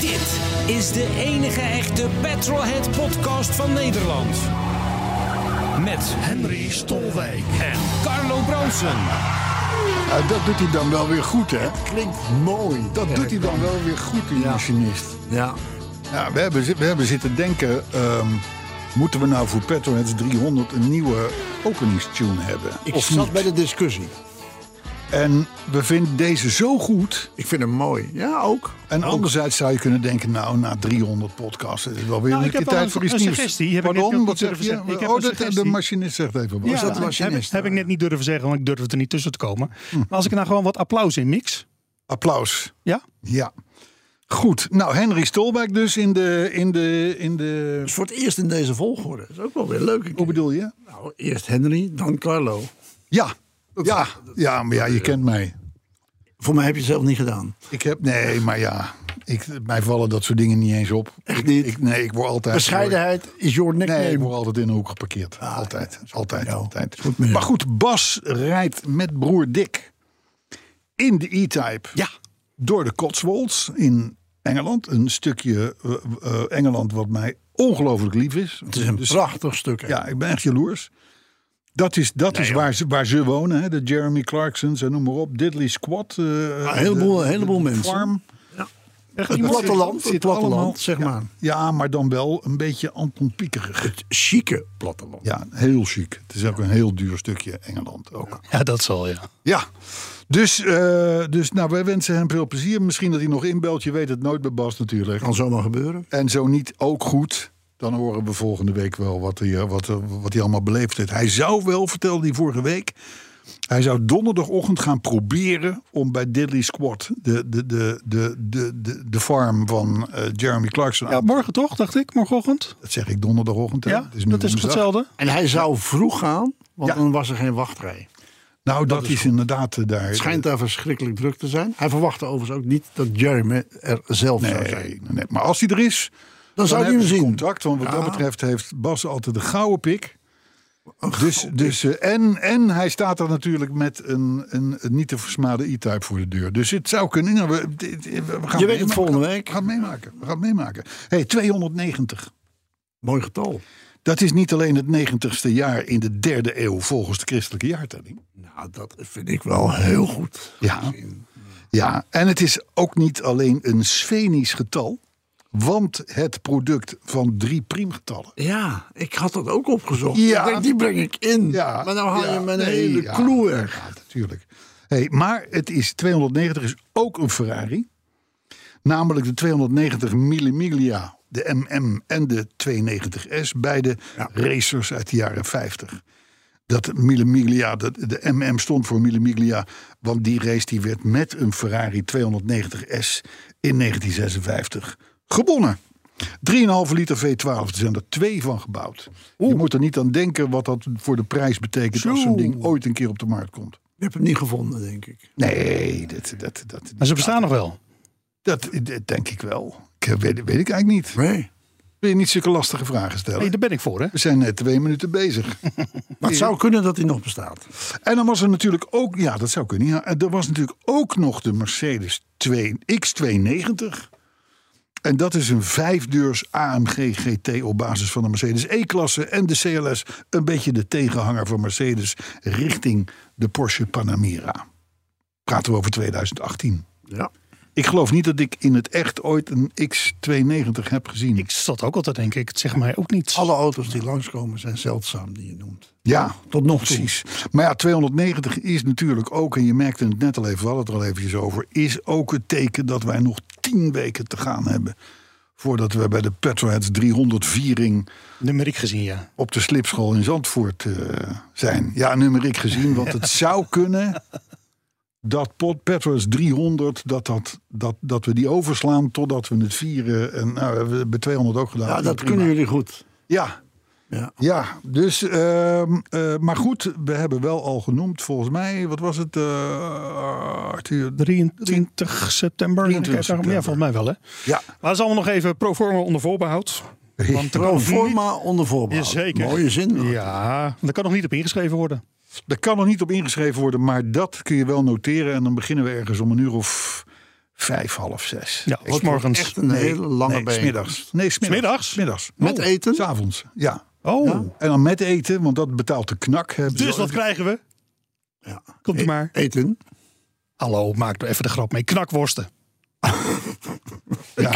Dit is de enige echte Petrolhead podcast van Nederland. Met Henry Stolwijk. en Carlo Bronsen. Ja, Eh, dat doet hij dan wel weer goed, hè? klinkt mooi. Dat doet hij dan wel weer goed, die machinist. Ja, Ja, we hebben, zi- we hebben zitten denken... ehm, moeten we nou voor Petroheads 300 een nieuwe openingstune hebben? ik of zat niet? bij de discussie. En we vinden deze zo goed. Ik vind hem mooi. Ja, ook. En anderzijds zou je kunnen denken... nou, na 300 podcasts het is wel weer Nou, een ik keer heb wel tijd een- voor iets een nieuws. suggestie, heb ik Pardon? net ook Wat niet zeg durven je? zeggen. Ik heb oh, een dat, de suggestie. machinist zegt even wat. Ja, Is dat de heb- heb, machinist? Hm. ik net niet durven zeggen, want ik durfde er niet tussen te komen. Maar als ik er nou gewoon wat applaus in mix. Applaus. Ja? Ja. Goed. Nou, Henry Stolwijk dus in de... In de, in de Dus voor het eerst in deze volgorde. Dat is ook wel weer leuk. Ik- hoe bedoel je? Nou, eerst Henry, dan Carlo. Ja, ja, ja, maar ja, je kent mij. Voor mij heb je het zelf niet gedaan. Ik heb, nee, maar ja, ik, mij vallen dat soort dingen niet eens op. Echt niet? Ik, nee, ik word altijd. Bescheidenheid is your nickname. Nee, ik word altijd in een hoek geparkeerd. Ah, altijd, altijd, jou. altijd. Nou, Goed met jou. maar goed, Bas rijdt met broer Dick in de E-Type Ja. door de Cotswolds in Engeland. Een stukje eh, eh, Engeland wat mij ongelooflijk lief is. Dus Het is een Dus- prachtig stuk. hè. Ja, ik ben echt jaloers. Dat is, dat is waar, ze, waar ze wonen. Hè? De Jeremy Clarksons en noem maar op. Diddley Squad. eh een heleboel- de- een heleboel de mensen. Farm. Echt Het iemand? platteland, zit het platteland, allemaal- zeg maar. Ja, maar dan wel een beetje Anton Piekerig. Het chique platteland. Ja, heel chic. Het is ook een heel duur stukje Engeland ook. Ja, dat zal ja. Ja, dus, eh, dus nou, wij wensen hem veel plezier. Misschien dat hij nog inbelt. Je weet het nooit bij Bas natuurlijk. Kan zomaar gebeuren. En zo niet ook goed. Dan horen we volgende week wel wat hij, eh, wat, eh, wat hij allemaal beleefd heeft. Hij zou wel, vertelde hij vorige week. Hij zou donderdagochtend gaan proberen om bij Diddley Squad, de, de, de, de, de, de, de farm van eh, Jeremy Clarkson. Ja, morgen toch, dacht ik, morgenochtend. Dat zeg ik donderdagochtend. hè? Ja, Het nu dat is toch woensdag. hetzelfde? En hij zou vroeg gaan, want Ja. dan was er geen wachtrij. Nou, dat, is, inderdaad eh, daar. Het schijnt daar verschrikkelijk druk te zijn. Hij verwachtte overigens ook niet dat Jeremy er zelf nee, zou zijn. nee, nee. maar als hij er is, Dan zou hij hem hebben ze zien. contact. Want wat Ja. dat betreft heeft Bas altijd de gouden pik. Dus, dus, eh, en, en hij staat er natuurlijk met een, een, een niet te versmade e-type voor de deur. Dus het zou kunnen. Nou, we, dit- we gaan meemaken. weet het volgende week. We gaan het meemaken. We gaan het meemaken. hey, 290. Mooi getal. Dat is niet alleen het 90ste jaar in de derde eeuw volgens de christelijke jaartelling. Nou, dat vind ik wel heel goed. Ja. ja, en het is ook niet alleen een sfenisch getal. Want het product van drie priemgetallen. Ja, ik had dat ook opgezocht. Ja. Ik denk, die breng ik in. Ja, maar nou haal ja, je mijn nee, hele ja, clue weg. Ja, natuurlijk. Hey, maar het is 290 is ook een Ferrari. Namelijk de 290 Millimilia, de MM en de 290S. Beide Ja. racers uit de jaren 50. Dat Millimiglia, de, de MM stond voor Millimiglia, want die race die werd met een Ferrari 290S in 1956 gewonnen. 3,5 liter V12, er zijn er twee van gebouwd. Je moet er niet aan denken wat dat voor de prijs betekent als zo'n ding ooit een keer op de markt komt. Je hebt hem niet gevonden, denk ik. Nee, dat, dat, dat, Maar ze bestaan nog wel. dat, dat denk ik wel. Ik eh, weet, weet ik eigenlijk niet. Nee. Wil je niet zulke lastige vragen stellen? Hey, daar ben ik voor, hè? We zijn net twee minuten bezig. Maar het zou kunnen dat hij nog bestaat. En dan was er natuurlijk ook, ja, dat zou kunnen. Ja, er was natuurlijk ook nog de Mercedes 2, X290. En dat is een vijfdeurs AMG GT op basis van de Mercedes E-klasse en de CLS. Een beetje de tegenhanger van Mercedes richting de Porsche Panamera. Praten we over 2018. Ja. Ik geloof niet dat ik in het echt ooit een X290 heb gezien. Ik zat ook altijd, denk ik. Het zegt mij ook niets. Alle auto's die langskomen zijn zeldzaam, die je noemt. Ja, Tot nog toe. precies. Maar ja, 290 is natuurlijk ook, en je merkte het net al even, we hadden het er al eventjes over, is ook het teken dat wij nog tien weken te gaan hebben. Voordat we bij de Petroheads 300 viering Numeriek gezien, ja. op de slipschool in Zandvoort eh, zijn. Ja, numeriek gezien, want het zou kunnen dat pot Petrus 300, dat, dat, dat, dat we die overslaan totdat we het vieren. En nou, we hebben het bij 200 ook gedaan. Ja, dat Prima. kunnen jullie goed. Ja, Ja. ja. Dus, ehm, eh, maar goed, we hebben wel al genoemd, volgens mij, wat was het? eh, Arthur? 23 september. 23 september. Ja, volgens mij wel hè. Ja, Maar dat is allemaal nog even pro forma onder voorbehoud. Want er kan Pro nog niet- forma onder voorbehoud. Jazeker. Mooie zin. hoor. Ja, want er kan nog niet op ingeschreven worden. daar kan nog niet op ingeschreven worden, maar dat kun je wel noteren. En dan beginnen we ergens om een uur of vijf, half zes. Ja, Wordt s morgens. Echt een hele lange nee, bijeenkomst. smiddags. Nee, smiddags. Smiddags? Smiddags. Met eten? S'avonds, ja. Oh, En dan met eten, want dat betaalt de knak. hè. dus wat krijgen we? Ja. Komt u maar. E- Eten. Hallo, maak er even de grap mee. Knakworsten. Ja.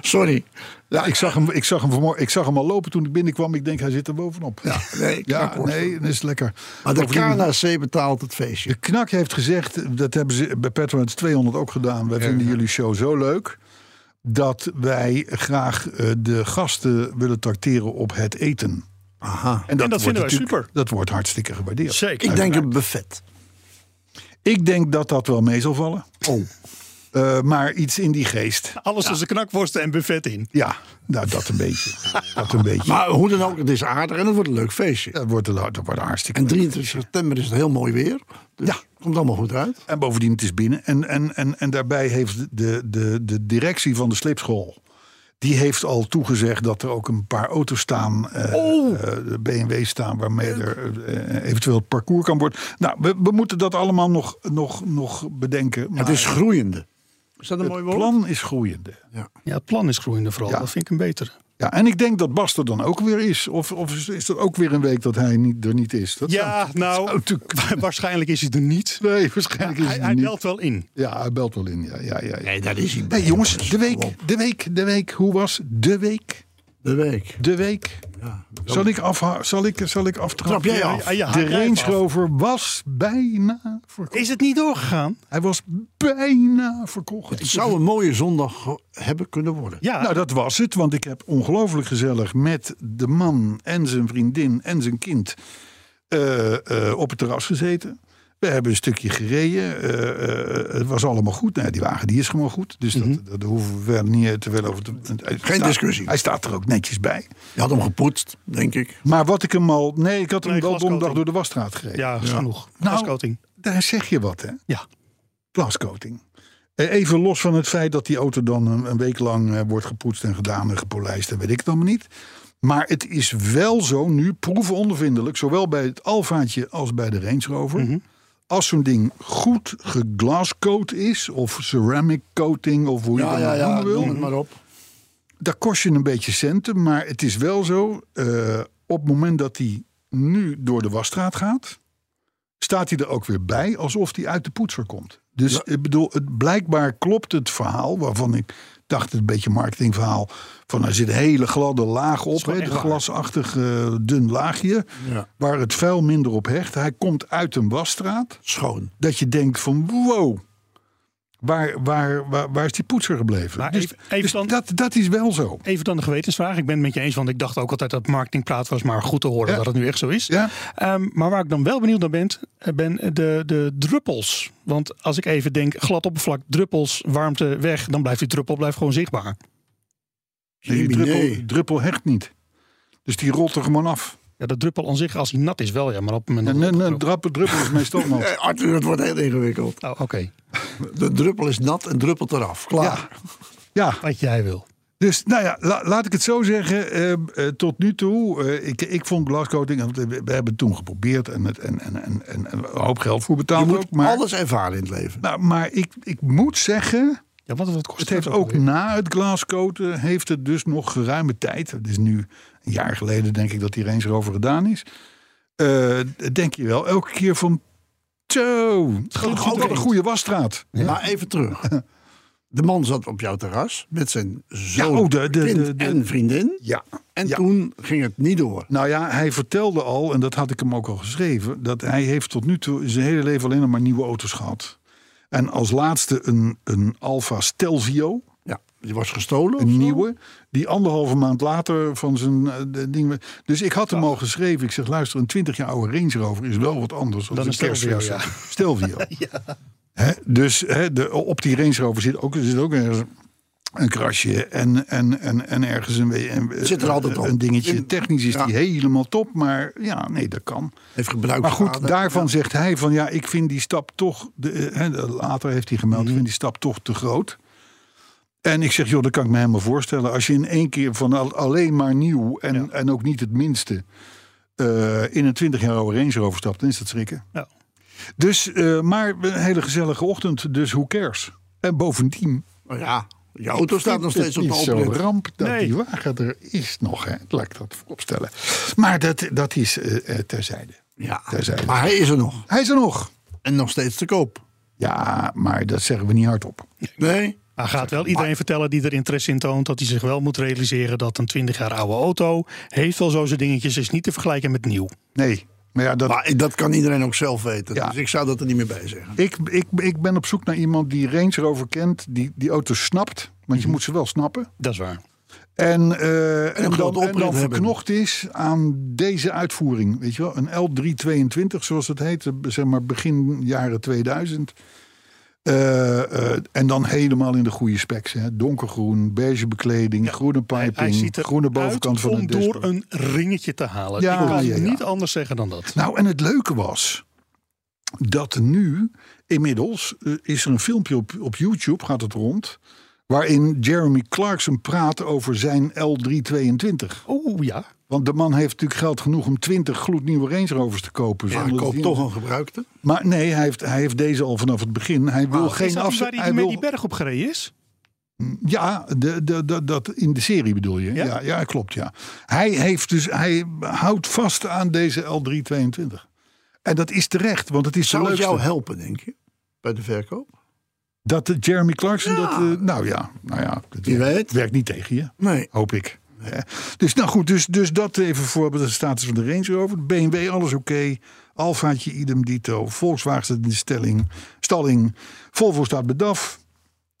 Sorry. Ja, ik zag, hem, ik, zag hem vanmorgen, ik zag hem al lopen toen ik binnenkwam. Ik denk, hij zit er bovenop. Ja, nee, ja knakworst. nee, dat is lekker. Maar de Bovendien, KNAC betaalt het feestje. De knak heeft gezegd, dat hebben ze bij Petroheads 200 ook gedaan. Wij vinden jullie show zo leuk. Dat wij graag eh, de gasten willen tracteren op het eten. Aha. En dat wordt vinden wij natuurlijk- super. Dat wordt hartstikke gewaardeerd. Zeker. Ik denk een buffet. Ik denk dat dat wel mee zal vallen. Oh. Eh, maar iets in die geest. Alles tussen knakworsten en buffet in. Ja, nou dat een beetje. Dat een beetje. Maar hoe dan ook, het is aardig en het wordt een leuk feestje. dat wordt, een- dat wordt een hartstikke En 23 september is het heel mooi weer. Dus Ja. komt allemaal goed uit. En bovendien, het is binnen. En, en, en, en daarbij heeft de, de, de directie van de slipschool... die heeft al toegezegd dat er ook een paar auto's staan... eh Oh! eh, BMW's staan, waarmee er eh, eventueel het parcours kan worden. Nou, we, we moeten dat allemaal nog, nog, nog bedenken. Maar Het is groeiende. Is dat een mooi het woord? plan is groeiende. Ja, het plan is groeiende vooral. Ja. Dat vind ik een betere. Ja, en ik denk dat Bas er dan ook weer is. Of, of is- is dat ook weer een week dat hij niet, er niet is? Dat Ja, nou, waarschijnlijk is hij er niet. zou- nee, waarschijnlijk is Hij, hij, hij niet. belt wel in. Ja, hij belt wel in. Ja, ja, ja, ja. Nee, daar is hij bij. Hey, jongens, de Kom op. week, de week, de week. Hoe was de week? De week. De week. Zal ik, afha- zal ik, zal ik aftrappen? Trap jij Ja, af? ja, ja, de hij rijdt Range af. Rover was bijna verkocht. Is het niet doorgegaan? Hij was bijna verkocht. Het zou een mooie zondag ge- hebben kunnen worden. Ja, Nou, dat was het, want ik heb ongelooflijk gezellig met de man en zijn vriendin en zijn kind eh, eh, op het terras gezeten. We hebben een stukje gereden. eh, eh, het was allemaal goed. Nou, die wagen die is gewoon goed. Dus dat, Mhm. dat hoeven we verder niet eh, te veel over te. Geen discussie. Hij staat er ook netjes bij. Je had hem gepoetst, denk ik. Maar wat ik hem al. Nee, ik had hem Nee, wel donderdag glascoating. door de wasstraat gereden. ja, is genoeg. Nou, Glascoating. Daar zeg je wat, hè? Ja. Glascoating. Eh, Even los van het feit dat die auto dan een, een week lang eh, wordt gepoetst en gedaan en gepolijst en weet ik het allemaal niet. Maar het is wel zo nu, proeven ondervindelijk, zowel bij het Alfaatje als bij de Range Rover. Mhm. Als zo'n ding goed geglascoat is, of ceramic coating, of hoe je Ja, dat ja, nou ja. noemen wil. Noem het maar op. daar kost je een beetje centen. Maar het is wel zo, eh, op het moment dat hij nu door de wasstraat gaat... staat hij er ook weer bij alsof hij uit de poetser komt. Dus ik bedoel, het, blijkbaar klopt het verhaal waarvan ik dacht... het een beetje marketingverhaal van er zit een hele gladde laag op. hè, Een glasachtig eh, dun laagje Ja. waar het vuil minder op hecht. Hij komt uit een wasstraat Schoon. dat je denkt van wow... Waar, waar, waar, waar is die poetser gebleven? Maar dus Nou, even- even dus dan- dat, dat is wel zo. Even dan de gewetensvraag. Ik ben het met je eens, want ik dacht ook altijd dat marketingpraat was, maar goed te horen Ja. dat het nu echt zo is. Ja. Ehm, maar waar ik dan wel benieuwd naar ben, eh, ben de, de druppels. Want als ik even denk, glad oppervlak, druppels, warmte weg, dan blijft die druppel blijft gewoon zichtbaar. Die Jimmy, druppel, nee. druppel hecht niet. Dus die rolt er gewoon af. Ja, de druppel aan zich, als hij nat is wel, ja, maar op een En moment... een, een drappe druppel is meestal nat. Eh, Arthur, het wordt heel ingewikkeld. Oh, oké. De druppel is nat en druppelt eraf. Klaar. Ja, Wat jij wil. dus nou ja, la- laat ik het zo zeggen. eh, eh, tot nu toe, eh, ik, ik vond glascoating, want we we hebben het toen geprobeerd en, het, en, en, en, en, en een hoop geld voor Je betaald moet ook. Maar, alles ervaren in het leven. nou, maar ik, ik moet zeggen, Ja, wat, wat kost het heeft dat ook alweer? na het glascoaten, heeft het dus nog geruime tijd. Het is nu een jaar geleden denk ik dat die Range Rover gedaan is. Eh, denk je wel, elke keer van, zo, goed wat een uit. goede wasstraat. Maar even terug. De man zat op jouw terras met zijn zoon Ja, oh, de- de- kind de- de- en vriendin. Ja. En Ja. toen ging het niet door. Nou ja, hij vertelde al, en dat had ik hem ook al geschreven, dat hij heeft tot nu toe zijn hele leven alleen nog maar nieuwe auto's gehad. En als laatste een, een Alfa Stelvio, Ja, die was gestolen. of een zo? nieuwe, die anderhalve maand later van zijn eh, de ding. Dus ik had hem al geschreven. Ik zeg, luister, een 20 jaar oude Range Rover is wel wat anders dan, Dan een een Stelvio, kerstversie. Stelvio. Hè, dus hè, de, op die Range Rover zit ook, zit ook ergens een krasje en, en, en, en ergens een, we- een, Zit er altijd op. een dingetje. In- Technisch is Ja. die helemaal top, maar ja, nee, dat kan. Heeft gebruikt. Maar goed, daarvan zegt hij van ja, ik vind die stap toch. De, eh, hè, de- later heeft hij Mhm. gemeld, ik vind die stap toch te groot. En ik zeg, joh, dat kan ik me helemaal voorstellen. Als je in één keer van al- alleen maar nieuw en, en ook niet het minste eh, in een 20 jaar oude Range Rover stapt, dan is dat schrikken. Ja. Dus, eh, maar een hele gezellige ochtend, dus hoe cares? En bovendien, Nou ja, je auto staat nog het steeds op de is zo'n oprit. ramp dat Nee. die wagen er is nog, hè? laat ik dat vooropstellen. Maar dat, dat is eh, eh, terzijde. Ja, Terzijde. maar hij is er nog. Hij is er nog. En nog steeds te koop. Ja, maar dat zeggen we niet hardop. Nee? Hij gaat wel iedereen vertellen die er interesse in toont dat hij zich wel moet realiseren dat een 20 jaar oude auto heeft wel zo zijn dingetjes, is niet te vergelijken met nieuw. Nee, maar ja, dat, Maar dat kan iedereen ook zelf weten. Ja. Dus ik zou dat er niet meer bij zeggen. ik, ik, ik ben op zoek naar iemand die Range Rover kent, die die auto's snapt. Want je Mhm. moet ze wel snappen. Dat is waar. En, eh, en, grote dan, en oprit dan hebben. verknocht is aan deze uitvoering. Weet je wel, een L322, zoals het heet, eh, zeg maar begin jaren 2000. Eh, eh, en dan helemaal in de goede specs. Hè. Donkergroen, beige bekleding, groene Hij, piping, hij ziet er groene bovenkant uit van om het dashboard. door een ringetje te halen. Ja, ik kan ja, ja. niet anders zeggen dan dat. Nou, en het leuke was dat nu inmiddels eh, is er een filmpje op, op YouTube, gaat het rond, waarin Jeremy Clarkson praat over zijn L322. Oeh ja. Want de man heeft natuurlijk geld genoeg om 20 gloednieuwe Range Rovers te kopen. Ja, zonder ik dat koop hij- toch een gebruikte. Maar nee, hij heeft, hij heeft deze al vanaf het begin. Hij wil is geen dat die waar afzet. hij, Hij met wil, die berg op gereden is? ja, de, de, de- dat in de serie bedoel je. Ja? Ja? Ja, klopt. Ja. Hij, heeft dus, hij houdt vast aan deze L322. En dat is terecht, want het is Zou de het leukste. jou helpen, denk je? Bij de verkoop? Dat eh, Jeremy Clarkson Ja. dat... eh, nou ja, nou ja het Wie werkt, weet. werkt niet tegen je, Nee. hoop ik. Eh, Dus nou goed, dus, dus dat even voor de status van de Range Rover. BMW, alles oké. Alfaatje, idem dito. Volkswagen staat in de stelling, stalling. Volvo staat bedaf.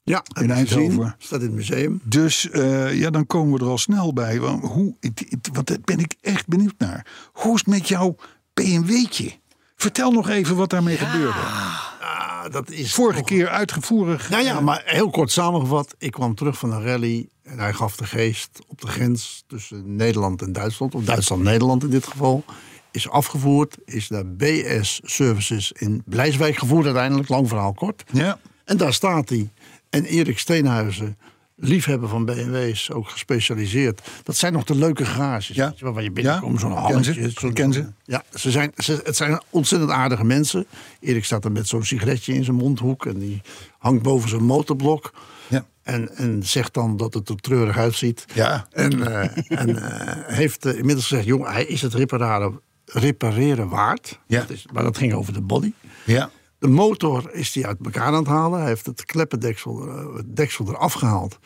Ja, in Eindhoven. Staat in het museum. Dus eh, ja, dan komen we er al snel bij. Want, hoe, het- het- want daar ben ik echt benieuwd naar. Hoe is het met jouw BMW'tje? Vertel nog even wat daarmee gebeurde. Ah, dat is Vorige toch- keer uitgevoerig. Nou ja, maar heel kort samengevat. Ik kwam terug van een rally en hij gaf de geest op de grens tussen Nederland en Duitsland. Of Duitsland-Nederland in dit geval. Is afgevoerd, is naar BS Services in Blijswijk gevoerd uiteindelijk. Lang verhaal kort. Ja, En daar staat hij. En Erik Steenhuizen, liefhebber van BMW's, ook gespecialiseerd. Dat zijn nog de leuke garages. Ja. weet je wel, Waar je binnenkomt, Ja. zo'n Ken halletje. ze. zo'n- Ken ze. Ja, ze zijn, ze- het zijn ontzettend aardige mensen. Erik staat dan met zo'n sigaretje in zijn mondhoek... en die hangt boven zijn motorblok. ja. En, en zegt dan dat het er treurig uitziet. Ja. En, eh, en eh, heeft eh, inmiddels gezegd... jong, hij is het repareren, repareren waard. Ja. Dat is, maar dat ging over de body. ja. De motor is die uit elkaar aan het halen. Hij heeft het kleppendeksel eh, het deksel eraf gehaald.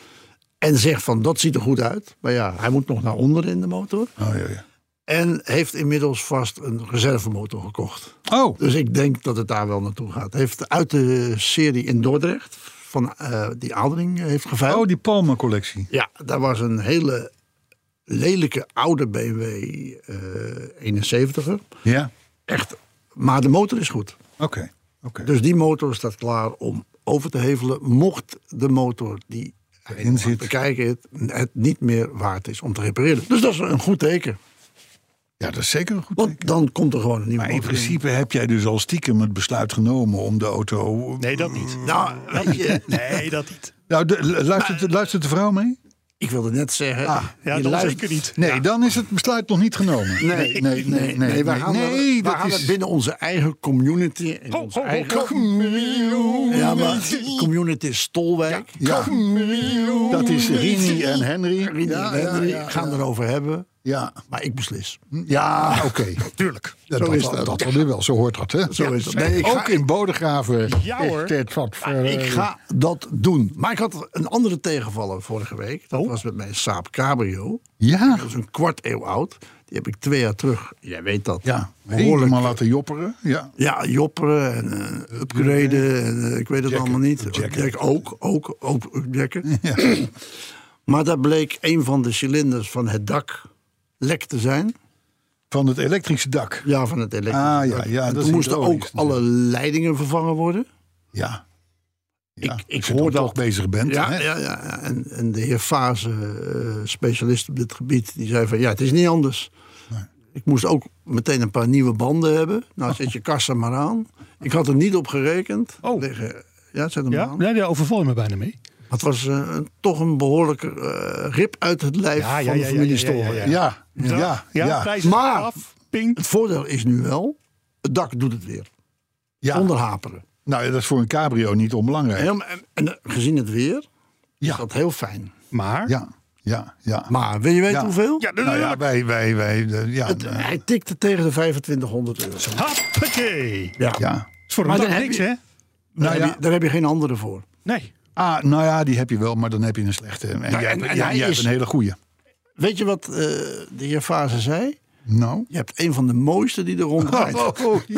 En zegt van dat ziet er goed uit. Maar ja, hij moet nog naar onder in de motor. Oh, ja, ja. En heeft inmiddels vast een reservemotor gekocht. Oh, Dus ik denk dat het daar wel naartoe gaat. Hij heeft uit de serie in Dordrecht, van, eh, die Aldering heeft geveild. oh die Palma-collectie. Ja, daar was een hele lelijke oude BMW eh 71er. Ja, Echt, maar de motor is goed. oké. oké. Dus die motor staat klaar om over te hevelen. Mocht de motor die Erin zit. bekijken het, het niet meer waard is om te repareren. Dus dat is een goed teken. Ja, dat is zeker een goed teken. Want dan komt er gewoon een nieuwe Maar in motor in. principe heb jij dus al stiekem het besluit genomen om de auto... Nee, dat niet. Nou, weet je, Nee, dat niet. Nou, de- luistert, luistert de vrouw mee? ik wilde net zeggen... Ah, Ja, je dat luistert- zeker niet. Nee, dan is het besluit nog niet genomen. Nee, nee, nee. nee, wij gaan, nee, nee, dat gaan is... Oh, het binnen onze eigen community. En onze eigen... Ja, maar community Stolwijk. Ja, dat is Rini en Henry. Rini ja, en Henry Ja, ja, gaan erover hebben. ja. Maar ik beslis. Ja, oké. Tuurlijk. Dat, Zo dat, is dat, dat. dat wel weer wel, zo hoort dat. Hè? Zo is dat. Nee, ik Ook ga- in Bodegraven Ja, hoor. is dit wat voor... Ik ga dat doen. Maar ik had een andere tegenvaller vorige week. Oh. Dat was met mijn Saab Cabrio. Ja, Dat is een kwart eeuw oud. Die heb ik twee jaar terug. Jij weet dat. ja. behoorlijk. helemaal laten jopperen. Ja. Ja, jopperen en eh, upgraden. En, eh, ik weet het Jacken. allemaal niet. Jacken. Jack ook, ook, ook upjacken. Ja. Maar daar bleek een van de cilinders van het dak lek te zijn. Van het elektrische dak. Ja, van het elektrische Ah, ja, dak. ja, En dat toen is moesten ironisch ook alle leidingen vervangen worden. Ja. ja. Ik- ik Als je hoor dan dat- toch bezig bent. Ja, hè? ja, ja. ja. En, en de heer Fase, eh, specialist op dit gebied, die zei van ja, het is niet anders. Ik moest ook meteen een paar nieuwe banden hebben. Nou, zet je kassa maar aan. Ik had er niet op gerekend. Oh. Liggen- Ja, zet hem Ja, aan. nee, daar overval je me bijna mee. Maar Het was eh, een- toch een behoorlijke eh, rip uit het lijf Ja, van ja, ja, ja, de familie ja, ja, ja, Storen. Ja, ja, Dag, ja. ja ja. prijs is Maar- af. Ping. Het voordeel is nu wel, het dak doet het weer. Zonder haperen. Nou, ja, dat is voor een cabrio niet onbelangrijk. En, en, en gezien het weer, is Ja, dat heel fijn. Maar, ja, ja, ja. Maar wil je weten Ja. hoeveel? ja, Nou ja, natuurlijk. wij, wij, wij, eh, ja, Het, eh, hij tikte tegen de 2500 euro. Hoppakee. Ja. ja. Is voor Maar een dag dan heb niks, je- hè? Nou daar, ja, heb je, daar heb je geen andere voor. Nee. ah, nou ja, die heb je wel, maar dan heb je een slechte. En jij, hebt- en- en jij- hij jij hebt is- een hele goede. Weet je wat eh, de heer Fase zei? Nou. Je hebt een van de mooiste die er rondrijdt. ja. dat Oh, vond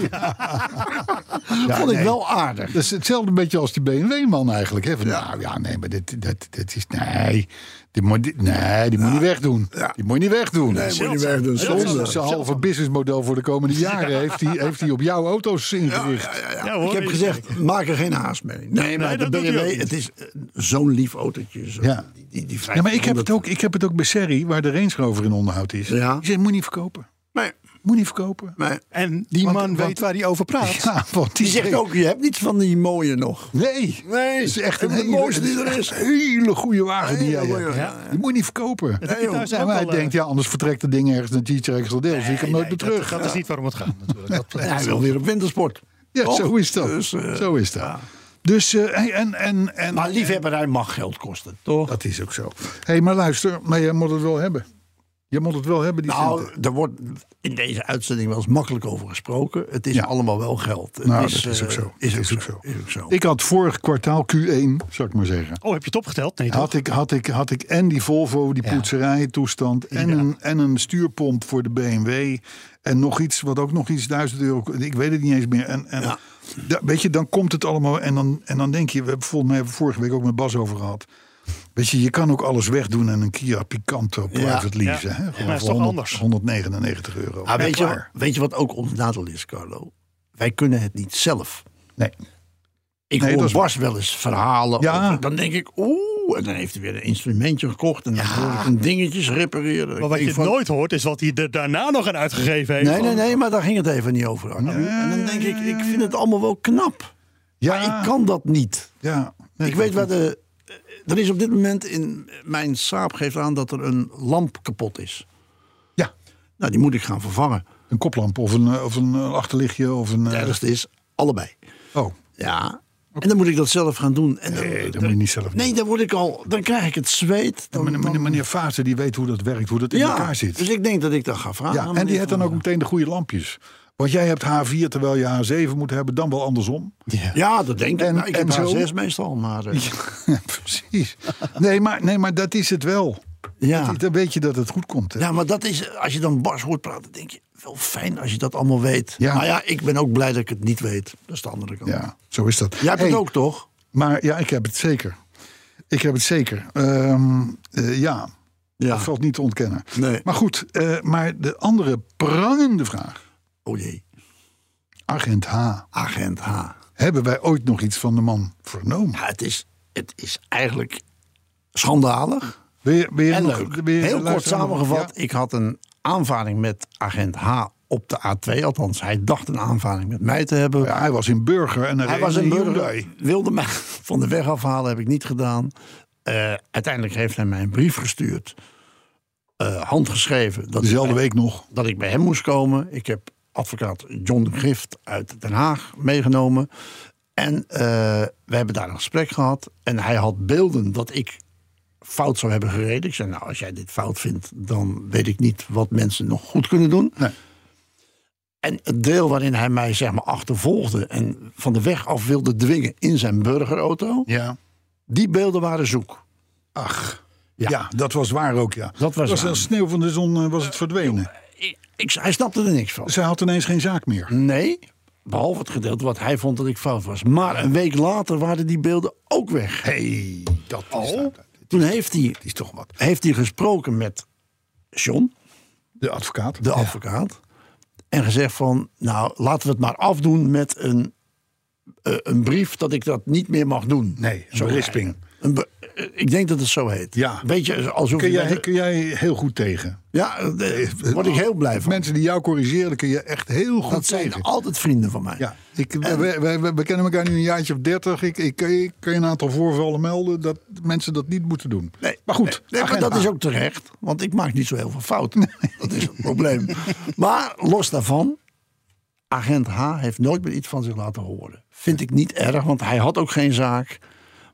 ik Oh, nee. wel aardig. Dat is hetzelfde beetje als die BMW-man eigenlijk. Hè? Van, Nou ja, nee, maar dit, dit, dit is... Nee, die moet, dit- nee, die moet je niet wegdoen. Die moet je niet wegdoen. Nee, Moet je weg doen, zonde. Zijn halve businessmodel voor de komende jaren heeft hij heeft hij op jouw auto's ingericht. Ja, hoor, ik heb ik- gezegd, maak er geen haast mee. Nee, maar dat de doet hij ook BMW, niet. het is eh, zo'n lief autootje. Zo, Ja. die, die, die Ja, maar ik heb 1500. het ook, ik heb het ook bij Serri, waar de Range Rover in onderhoud is. Ja. Die zegt, moet je niet verkopen. Nee, Moet je niet verkopen. nee. En die Want- man want- weet waar hij over praat. Ja, want Die zegt ook, je hebt niets van die mooie nog. Nee, Nee, het is echt een de hele, mooiste die het er is. een hele goede wagen die Hele jij goeie, hebt. ja. Die moet je niet verkopen. heb je Nee, thuis joh. ook maar hij al, eh, denkt, ja, anders vertrekt dat ding ergens naar Teacher Extra Deel. Zie ik hem nooit meer terug. Dat is niet waarom het gaat, natuurlijk. Dat- En hij wil weer op wintersport. Ja, Toch? zo is dat. Dus, eh, zo is dat. Dus, eh, hey, en, en, en, Maar liefhebberij mag geld kosten. dat is ook zo. Hé, hey, maar luister, maar jij moet het wel hebben. Je moet het wel hebben, die centen. Nou, er wordt in deze uitzending wel eens makkelijk over gesproken. Het is Ja. allemaal wel geld. Het Nou, dat is ook eh, zo. Is Dat ook is zo. ook zo. Is ook zo. Ik had vorig kwartaal Q1, zou ik maar zeggen. Oh, heb je het opgeteld? Nee, toch? Had ik, had, ik, had ik en die Volvo, die Ja. poetserijtoestand. En, een, en een stuurpomp voor de BMW. En nog iets, wat ook nog iets, duizend euro. Ik weet het niet eens meer. En, en, da- weet je, dan komt het allemaal. En dan, en dan denk je, we hebben volgens mij hebben we vorige week ook met Bas over gehad. Weet je, je kan ook alles wegdoen en een Kia Picanto private Ja. leasen. Hè? Ja, Gewoon maar is voor toch 100 anders? 199 Maar euro. Ja, Ah, weet, je, klaar. weet je wat ook ons nadeel is, Carlo? Wij kunnen het niet zelf. Nee. Ik Nee, dat hoor is Bas wel eens verhalen. Ja. over- dan denk ik, oeh, en dan heeft hij weer een instrumentje gekocht. En dan hoor ik een dingetjes repareren. Ik Maar wat denk je van- nooit hoort, is wat hij er daarna nog aan uitgegeven heeft. Nee, nee, nee, maar daar ging het even niet over. Arno. En dan denk ik, ik vind het allemaal wel knap. Ja, Maar ik kan dat niet. ja. Nee, Ik weet waar de. Er is op dit moment in mijn saap geeft aan dat er een lamp kapot is. Ja, Nou, die moet ik gaan vervangen. een koplamp of een, eh, of een eh, achterlichtje of een... Het eh, ergste is allebei. oh, Ja. En dan moet ik dat zelf gaan doen. En dan, nee, dat moet je niet zelf doen. nee, dan word ik al. Dan krijg ik het zweet. Dan, Meneer, meneer, meneer Fase die weet hoe dat werkt, hoe dat in elkaar zit. Dus ik denk dat ik dat ga vragen. ja, aan en die meneer heeft dan Van ook meteen de goede lampjes. Want jij hebt H4 terwijl je H7 moet hebben, dan wel andersom. Gaal. Ja, dat denk ik. En- Nou, ik en heb zo? haar zes meestal, maar. eh, Precies. Nee maar, nee, maar dat is het wel. ja. Dan weet je dat het goed komt. Hè? ja, maar dat is. Als je dan Bas hoort praten, denk je wel fijn als je dat allemaal weet. Ja. Maar ja, ik ben ook blij dat ik het niet weet. Dat is de andere kant. Ja, zo is dat. Jij hebt het Hey, ook toch? Maar ja, ik heb het zeker. Ik heb het zeker. Ehm, eh, ja, Ja. dat valt niet te ontkennen. Nee. Maar goed, eh, maar de andere prangende vraag. Oh jee, Agent H. agent H. Hebben wij ooit nog iets van de man vernomen? Ja, het, is, het is eigenlijk schandalig Wil je, wil je en nog- leuk. wil je Heel kort luisteren? samengevat, Ja? ik had een aanvaring met agent H op de A2. Althans, hij dacht een aanvaring met mij te hebben. Ja, hij was in Burger en er hij reed was een burger, Hyundai. wilde mij van de weg afhalen, heb ik niet gedaan. Eh, uiteindelijk heeft hij mij een brief gestuurd, eh, handgeschreven. Dat ik Dezelfde bij- week nog. dat ik bij hem moest komen. Ik heb advocaat John de Grift uit Den Haag meegenomen. En eh, we hebben daar een gesprek gehad. En hij had beelden dat ik fout zou hebben gereden. Ik zei, nou, als jij dit fout vindt, dan weet ik niet wat mensen nog goed kunnen doen. Nee. En het deel waarin hij mij zeg maar achtervolgde en van de weg af wilde dwingen in zijn burgerauto, Ja. die beelden waren zoek. Ach. Ja. Ja. dat was waar ook, ja. Dat was waar. als sneeuw van de zon eh, was het verdwenen. Ik, ik- hij snapte er niks van. Zij had ineens geen zaak meer. Nee, behalve het gedeelte wat hij vond dat ik fout was. Maar een week later waren die beelden ook weg. hey, dat is, nou- dat Toen heeft hij, is toch wat. heeft hij gesproken met John, De advocaat. de advocaat. En gezegd van, nou laten we het maar afdoen met een eh, een brief dat ik dat niet meer mag doen. Nee, een Zo berisping. rijden. Een be- eh, ik denk dat het zo heet. Ja. Beetje alsof Kun je bij jij, de- kun jij heel goed tegen. ja, eh, daar word ik heel blij van. Mensen die jou corrigeren, daar kun je echt heel goed Dat zijn tegen. altijd vrienden van mij. Ja, ik, we, we, we, we kennen elkaar nu een jaartje of dertig. Ik, ik, ik kan je een aantal voorvallen melden dat mensen dat niet moeten doen. Nee, maar goed, nee, nee, maar agenda. dat is ook terecht, want ik maak niet zo heel veel fouten. Dat is het probleem. Maar los daarvan, agent H heeft nooit meer iets van zich laten horen. Vind ik niet erg, want hij had ook geen zaak.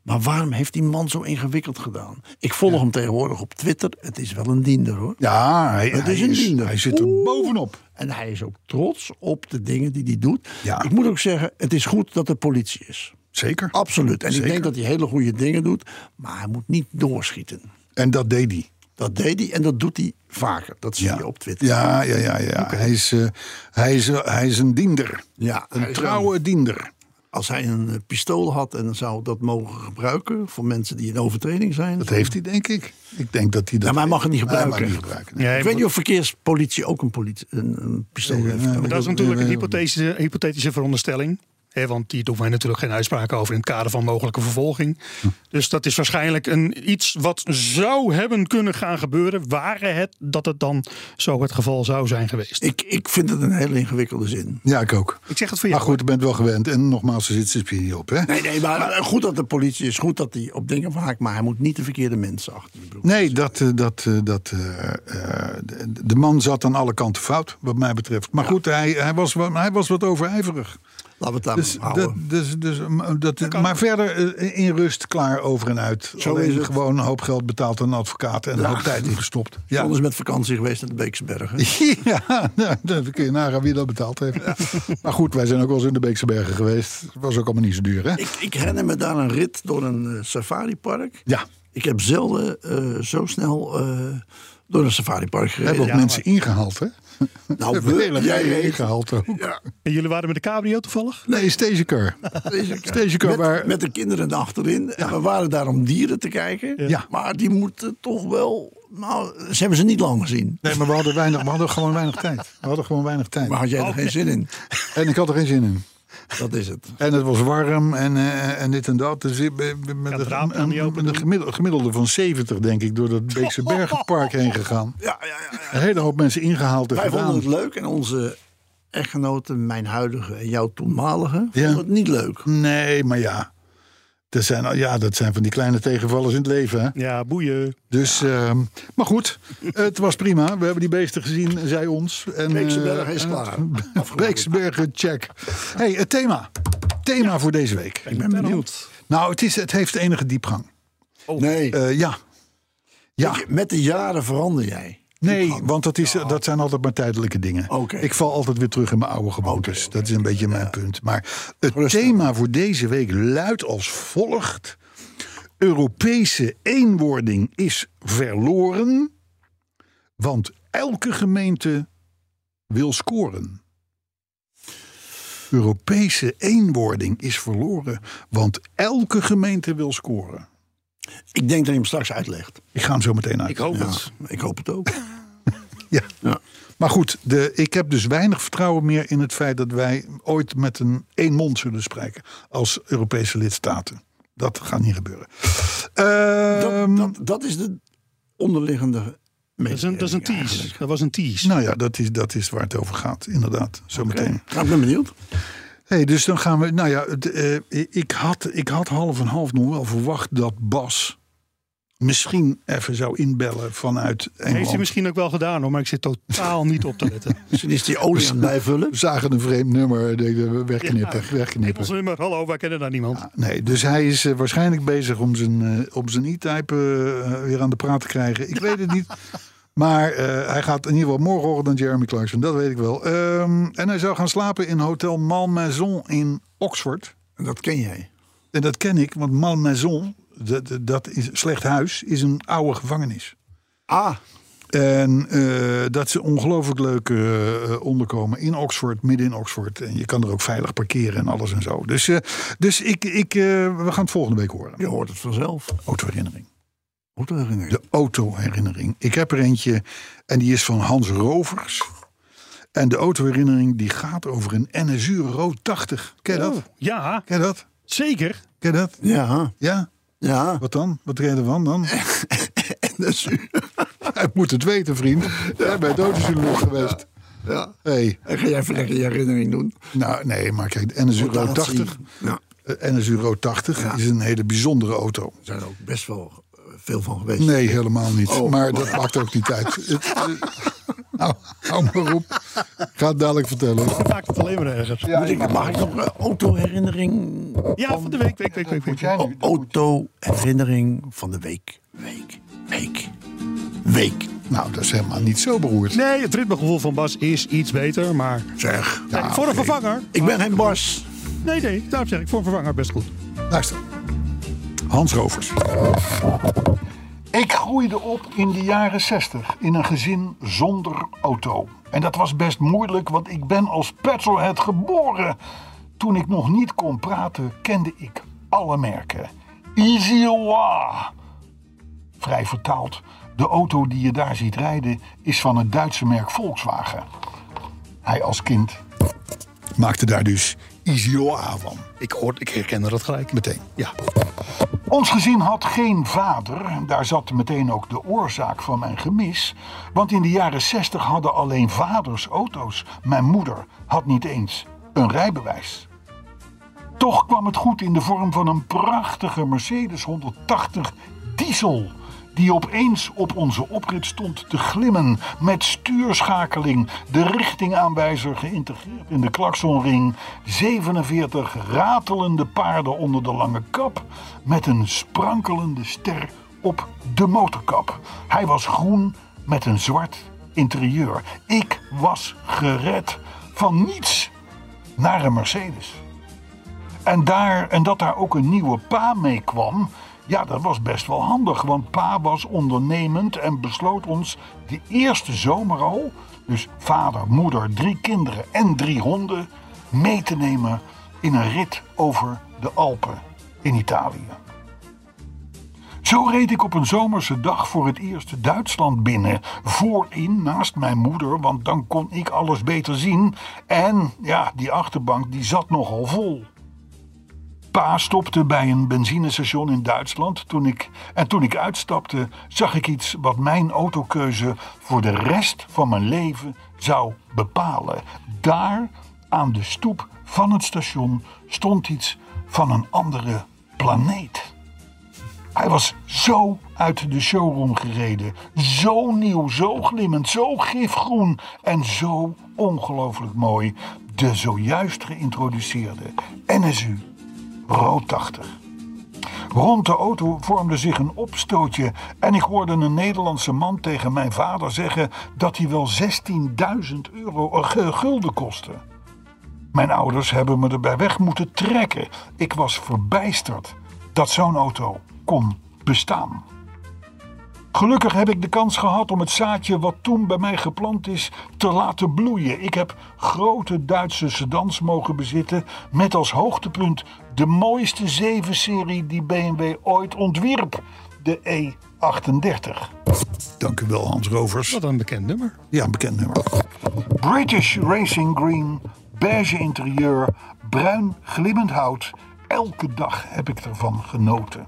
Maar waarom heeft die man zo ingewikkeld gedaan? Ik volg hem tegenwoordig op Twitter. Het is wel een diender hoor. Ja, hij, Het hij is een diender. hij zit er Oeh. bovenop. En hij is ook trots op de dingen die hij doet. Ja. Ik moet ook zeggen, het is goed dat er politie is. Zeker. Absoluut. En Zeker. ik denk dat hij hele goede dingen doet. Maar hij moet niet doorschieten. En dat deed hij. Dat deed hij en dat doet hij vaker. Dat zie je op Twitter. Ja, ja, ja. ja. Hij, is, eh, hij, is, eh, hij is een diender. Ja, Een hij- trouwe diender. Als hij een eh, pistool had en zou dat mogen gebruiken voor mensen die in overtreding zijn. Dat heeft hij, denk ik. Ik denk dat hij dat... Ja, maar hij mag het niet Hij gebruiken. mag het niet gebruiken. Ja, ik weet niet of verkeerspolitie ook een, politie, een, een pistool heeft. Maar dat is dat- natuurlijk een eh, hypothetische, hypothetische veronderstelling. Hè, want die doen wij natuurlijk geen uitspraken over in het kader van mogelijke vervolging. Dus dat is waarschijnlijk een, iets wat zou hebben kunnen gaan gebeuren. waren het dat het dan zo het geval zou zijn geweest. Ik, ik vind het een hele ingewikkelde zin. Ja, ik ook. Ik zeg het voor Maar jou. goed, je bent wel gewend. En nogmaals, er zit ze niet op, hè? Nee, nee, maar eh, goed dat de politie is, goed dat hij op dingen vaak, maar hij moet niet de verkeerde mensen achter de broek. Nee, dat, eh, dat, eh, dat, eh, eh, de- de man zat aan alle kanten fout, wat mij betreft. Maar goed, hij, hij, was, wa- hij was wat overijverig. Laten we het daar Dus, maar op dat, houden. dus, dus, m- dat, maar verder eh, in rust, klaar, over en uit. Zo Alleen is het. gewoon een hoop geld betaald aan een advocaat en een hoop tijd ingestopt. Ja. Ja, Anders met vakantie geweest naar de Beekse Bergen. ja nou, dan kun je nagaan wie dat betaald heeft. Maar goed, wij zijn ook wel eens in de Beekse Bergen geweest. Was ook allemaal niet zo duur, hè? Ik, ik herinner me daar een rit door een eh, safaripark. Ja, Ik heb zelden eh, zo snel eh, door een safaripark we hebben gereden. ook mensen ingehaald, hè? Nou, we hebben we, jij jij weet. ingehaald ook. Ja, En jullie waren met de cabrio toevallig? Nee, stagecar. deze kant. Stagecar waar... met, met de kinderen achterin. En we waren daar om dieren te kijken. Ja. Maar die moeten toch wel... Nou, ze hebben ze niet lang gezien. Nee, maar we hadden, weinig, we hadden gewoon weinig tijd. We hadden gewoon weinig tijd. Maar had jij er geen zin in? En ik had er geen zin in. Dat is het. En het was warm en, eh, en dit en dat. Dus ik ben ben met het een- raam kan een- niet open met een doen. gemiddelde, gemiddelde van 70, denk ik, door dat Beekse Bergenpark heen gegaan. Ja, ja, ja, ja. Een hele hoop mensen ingehaald en Wij vonden gedaan. het leuk. En onze echtgenoten, mijn huidige en jouw toenmalige, Ja. vonden het niet leuk. Nee, maar ja. Dat zijn, al- ja, dat zijn van die kleine tegenvallers in het leven. Hè? Ja, boeien. Dus, ehm, maar goed, het was prima. We hebben die beesten gezien, zij ons. En, Beekse eh, Bergen is klaar. Beekse Bergen, check. hey, het thema. Thema voor deze week. Ik ben benieuwd. Nou, het, is, het heeft enige diepgang. Nee. Eh, ja. Ja. Weet je, Met de jaren verander jij. Nee, want dat, is, dat zijn altijd maar tijdelijke dingen. Oké. Ik val altijd weer terug in mijn oude gewoontes. dat is een beetje mijn punt. Maar het Rustig. thema voor deze week luidt als volgt. Europese eenwording is verloren, want elke gemeente wil scoren. Europese eenwording is verloren, want elke gemeente wil scoren. Ik denk dat je hem straks uitlegt. Ik ga hem zo meteen uit. Ik hoop het. Ik hoop het ook. Ja. Ja. Maar goed, de, ik heb dus weinig vertrouwen meer in het feit dat wij ooit met een één mond zullen spreken als Europese lidstaten. Dat gaat niet gebeuren. Ehm, dat, dat, dat is de onderliggende Dat is een, dat is een tease. Dat was een tease. nou ja, dat is, dat is waar het over gaat, inderdaad. Zometeen. Nou, ik ben benieuwd. Hey, dus dan gaan we. Nou ja, het, eh, ik, had, ik had half en half nog wel verwacht dat Bas misschien even zou inbellen vanuit Engeland. Heeft hij misschien ook wel gedaan hoor, maar ik zit totaal niet op te letten. Misschien is die olie aan het bijvullen. We zagen een vreemd nummer. Denk, wegknippen, wegknippen. Ons nummer, hallo, wij kennen daar niemand. Nee, dus hij is eh, waarschijnlijk bezig om zijn, eh, om zijn e-type eh, weer aan de praat te krijgen. Ik weet het niet. Maar eh, hij gaat in ieder geval morgenochtend Jeremy Clarkson, dat weet ik wel. Ehm, en hij zou gaan slapen in Hotel Malmaison in Oxford. En Dat ken jij. En dat ken ik, want Malmaison, dat, dat is slecht huis, is een oude gevangenis. Ah, En eh, dat ze ongelooflijk leuk eh, eh, onderkomen in Oxford, midden in Oxford. En je kan er ook veilig parkeren en alles en zo. Dus, eh, dus ik, ik, eh, we gaan het volgende week horen. je hoort het vanzelf. Autoherinnering. Goed herinnering. De autoherinnering. Ik heb er eentje en die is van Hans Rovers. En de autoherinnering die gaat over een NSU rood 80. Ken je dat? Ja, Ken je dat? zeker. Ken je dat? Ja, Ja? ja. Wat dan? Wat reden van dan? NSU. Hij moet het weten, vriend. Jij bent autojournalist geweest. Ja. Hey. En ga jij even lekker je herinnering doen? Nou, nee, maar kijk, de NSU rood 80... Ja, eh, NSU rood 80 Ja. is een hele bijzondere auto. er zijn er ook best wel eh, veel van geweest. Nee, helemaal niet. Oh. maar dat maakt ook niet uit. Het, eh, hou, hou maar op. Ik ga het dadelijk vertellen. Dat maakt het alleen maar erger. Ja, Moet ik, mag ik nog een autoherinnering? van de week, week, week, week. week. O- Autoherinnering van de week. Week. Week. Week. Nou, dat is helemaal niet zo beroerd. Nee, het ritmegevoel van Bas is iets beter, maar... Zeg. Nou, Nee, voor een vervanger? Ik ben geen Bas. Nee, nee, daarom zeg ik, voor een vervanger best goed. Luister. Hans Rovers. Ik groeide op in de jaren 60 in een gezin zonder auto. En dat was best moeilijk, want ik ben als petrolhead geboren. Toen ik nog niet kon praten, kende ik alle merken. Easy vrij vertaald. De auto die je daar ziet rijden is van het Duitse merk Volkswagen. Hij als kind maakte daar dus Izioa van. Ik, hoor, ik herkende dat gelijk. Meteen. Ja. Ons gezin had geen vader. Daar zat meteen ook de oorzaak van mijn gemis. Want in de jaren 60 hadden alleen vaders auto's. Mijn moeder had niet eens een rijbewijs. Toch kwam het goed in de vorm van een prachtige Mercedes 180 diesel. Die opeens op onze oprit stond te glimmen. Met stuurschakeling, de richtingaanwijzer geïntegreerd in de klaksonring. 47 ratelende paarden onder de lange kap. Met een sprankelende ster op de motorkap. Hij was groen met een zwart interieur. Ik was gered van niets naar een Mercedes. En, daar, en dat daar ook een nieuwe pa mee kwam, ja, dat was best wel handig. Want pa was ondernemend en besloot ons de eerste zomer al, dus vader, moeder, drie kinderen en drie honden, mee te nemen in een rit over de Alpen in Italië. Zo reed ik op een zomerse dag voor het eerst Duitsland binnen. Voorin naast mijn moeder, want dan kon ik alles beter zien. En ja, die achterbank die zat nogal vol. Pa stopte bij een benzinestation in Duitsland. Toen ik, en toen ik uitstapte, zag ik iets wat mijn autokeuze voor de rest van mijn leven zou bepalen. Daar, aan de stoep van het station, stond iets van een andere planeet. Hij was zo uit de showroom gereden. Zo nieuw, zo glimmend, zo gifgroen en zo ongelooflijk mooi. De zojuist geïntroduceerde NSU Rood 80. Rond de auto vormde zich een opstootje en ik hoorde een Nederlandse man tegen mijn vader zeggen dat hij wel 16.000 euro eh, ge- gulden kostte. Mijn ouders hebben me erbij weg moeten trekken. Ik was verbijsterd dat zo'n auto kon bestaan. Gelukkig heb ik de kans gehad om het zaadje wat toen bij mij geplant is te laten bloeien. Ik heb grote Duitse sedans mogen bezitten met als hoogtepunt de mooiste 7-serie die BMW ooit ontwierp, de E E38. Dank u wel Hans Rovers. Wat een bekend nummer. Ja, een bekend nummer. British Racing Green, beige interieur, bruin glimmend hout. Elke dag heb ik ervan genoten.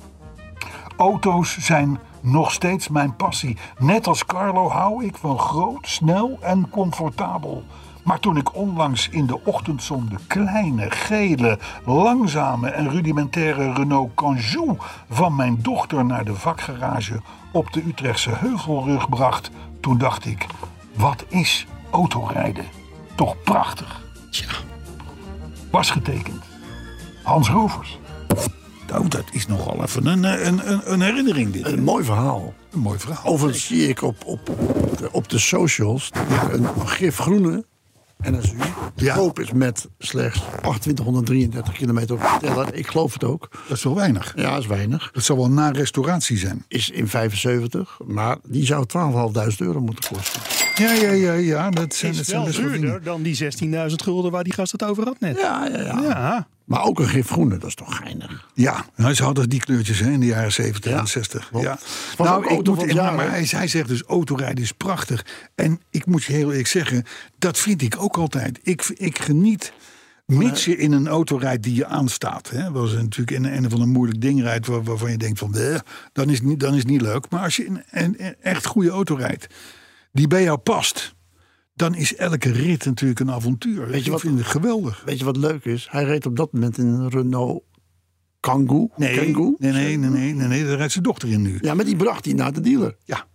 Auto's zijn nog steeds mijn passie. Net als Carlo hou ik van groot, snel en comfortabel. Maar toen ik onlangs in de ochtendzon de kleine, gele, langzame en rudimentaire Renault Canjou van mijn dochter naar de vakgarage op de Utrechtse heuvelrug bracht, toen dacht ik: wat is autorijden? Toch prachtig. Was getekend. Hans Rovers. Nou, dat is nogal even een, eh, een, een, een herinnering dit. Een mooi verhaal. Een mooi verhaal. Overigens zie ik op, op, op de, op de socials dat er een gifgroene NSU te Ja. koop is met slechts 2833 kilometer op de teller. Ik geloof het ook. Dat is wel weinig. Ja, is weinig. Dat zal wel na restauratie zijn. Is in 75, maar die zou 12.500 euro moeten kosten. Ja, ja, ja, ja. Dat zijn, Is dat zijn wel best wel duurder dingen. dan die 16.000 gulden waar die gast het over had net. Ja, ja, ja. Ja, Maar ook een gif groene, dat is toch geinig? Ja, nou, ze hadden die kleurtjes hè, in de jaren 70 en 60. klopt. Ja. Was ook Nou, ik auto moet, van het en- jaar, maar hè? hij, hij zegt dus autorijden is prachtig. En ik moet je heel eerlijk zeggen, dat vind ik ook altijd. Ik, ik geniet, mits je in een auto rijdt die je aanstaat. Hè, was natuurlijk in een, een of een moeilijk ding rijdt waar- waarvan je denkt van... "Bleh, Dan is, het niet, dan is het niet leuk. Maar als je in een, een echt goede auto rijdt, die bij jou past... dan is elke rit natuurlijk een avontuur. Weet je wat- wat? Ik vind het geweldig. Weet je wat leuk is? Hij reed op dat moment in een Renault Kangoo. Nee, Kangoo? nee, nee, nee, nee, nee, nee, daar rijdt zijn dochter in nu. Ja, maar die bracht hij naar de dealer. Ja.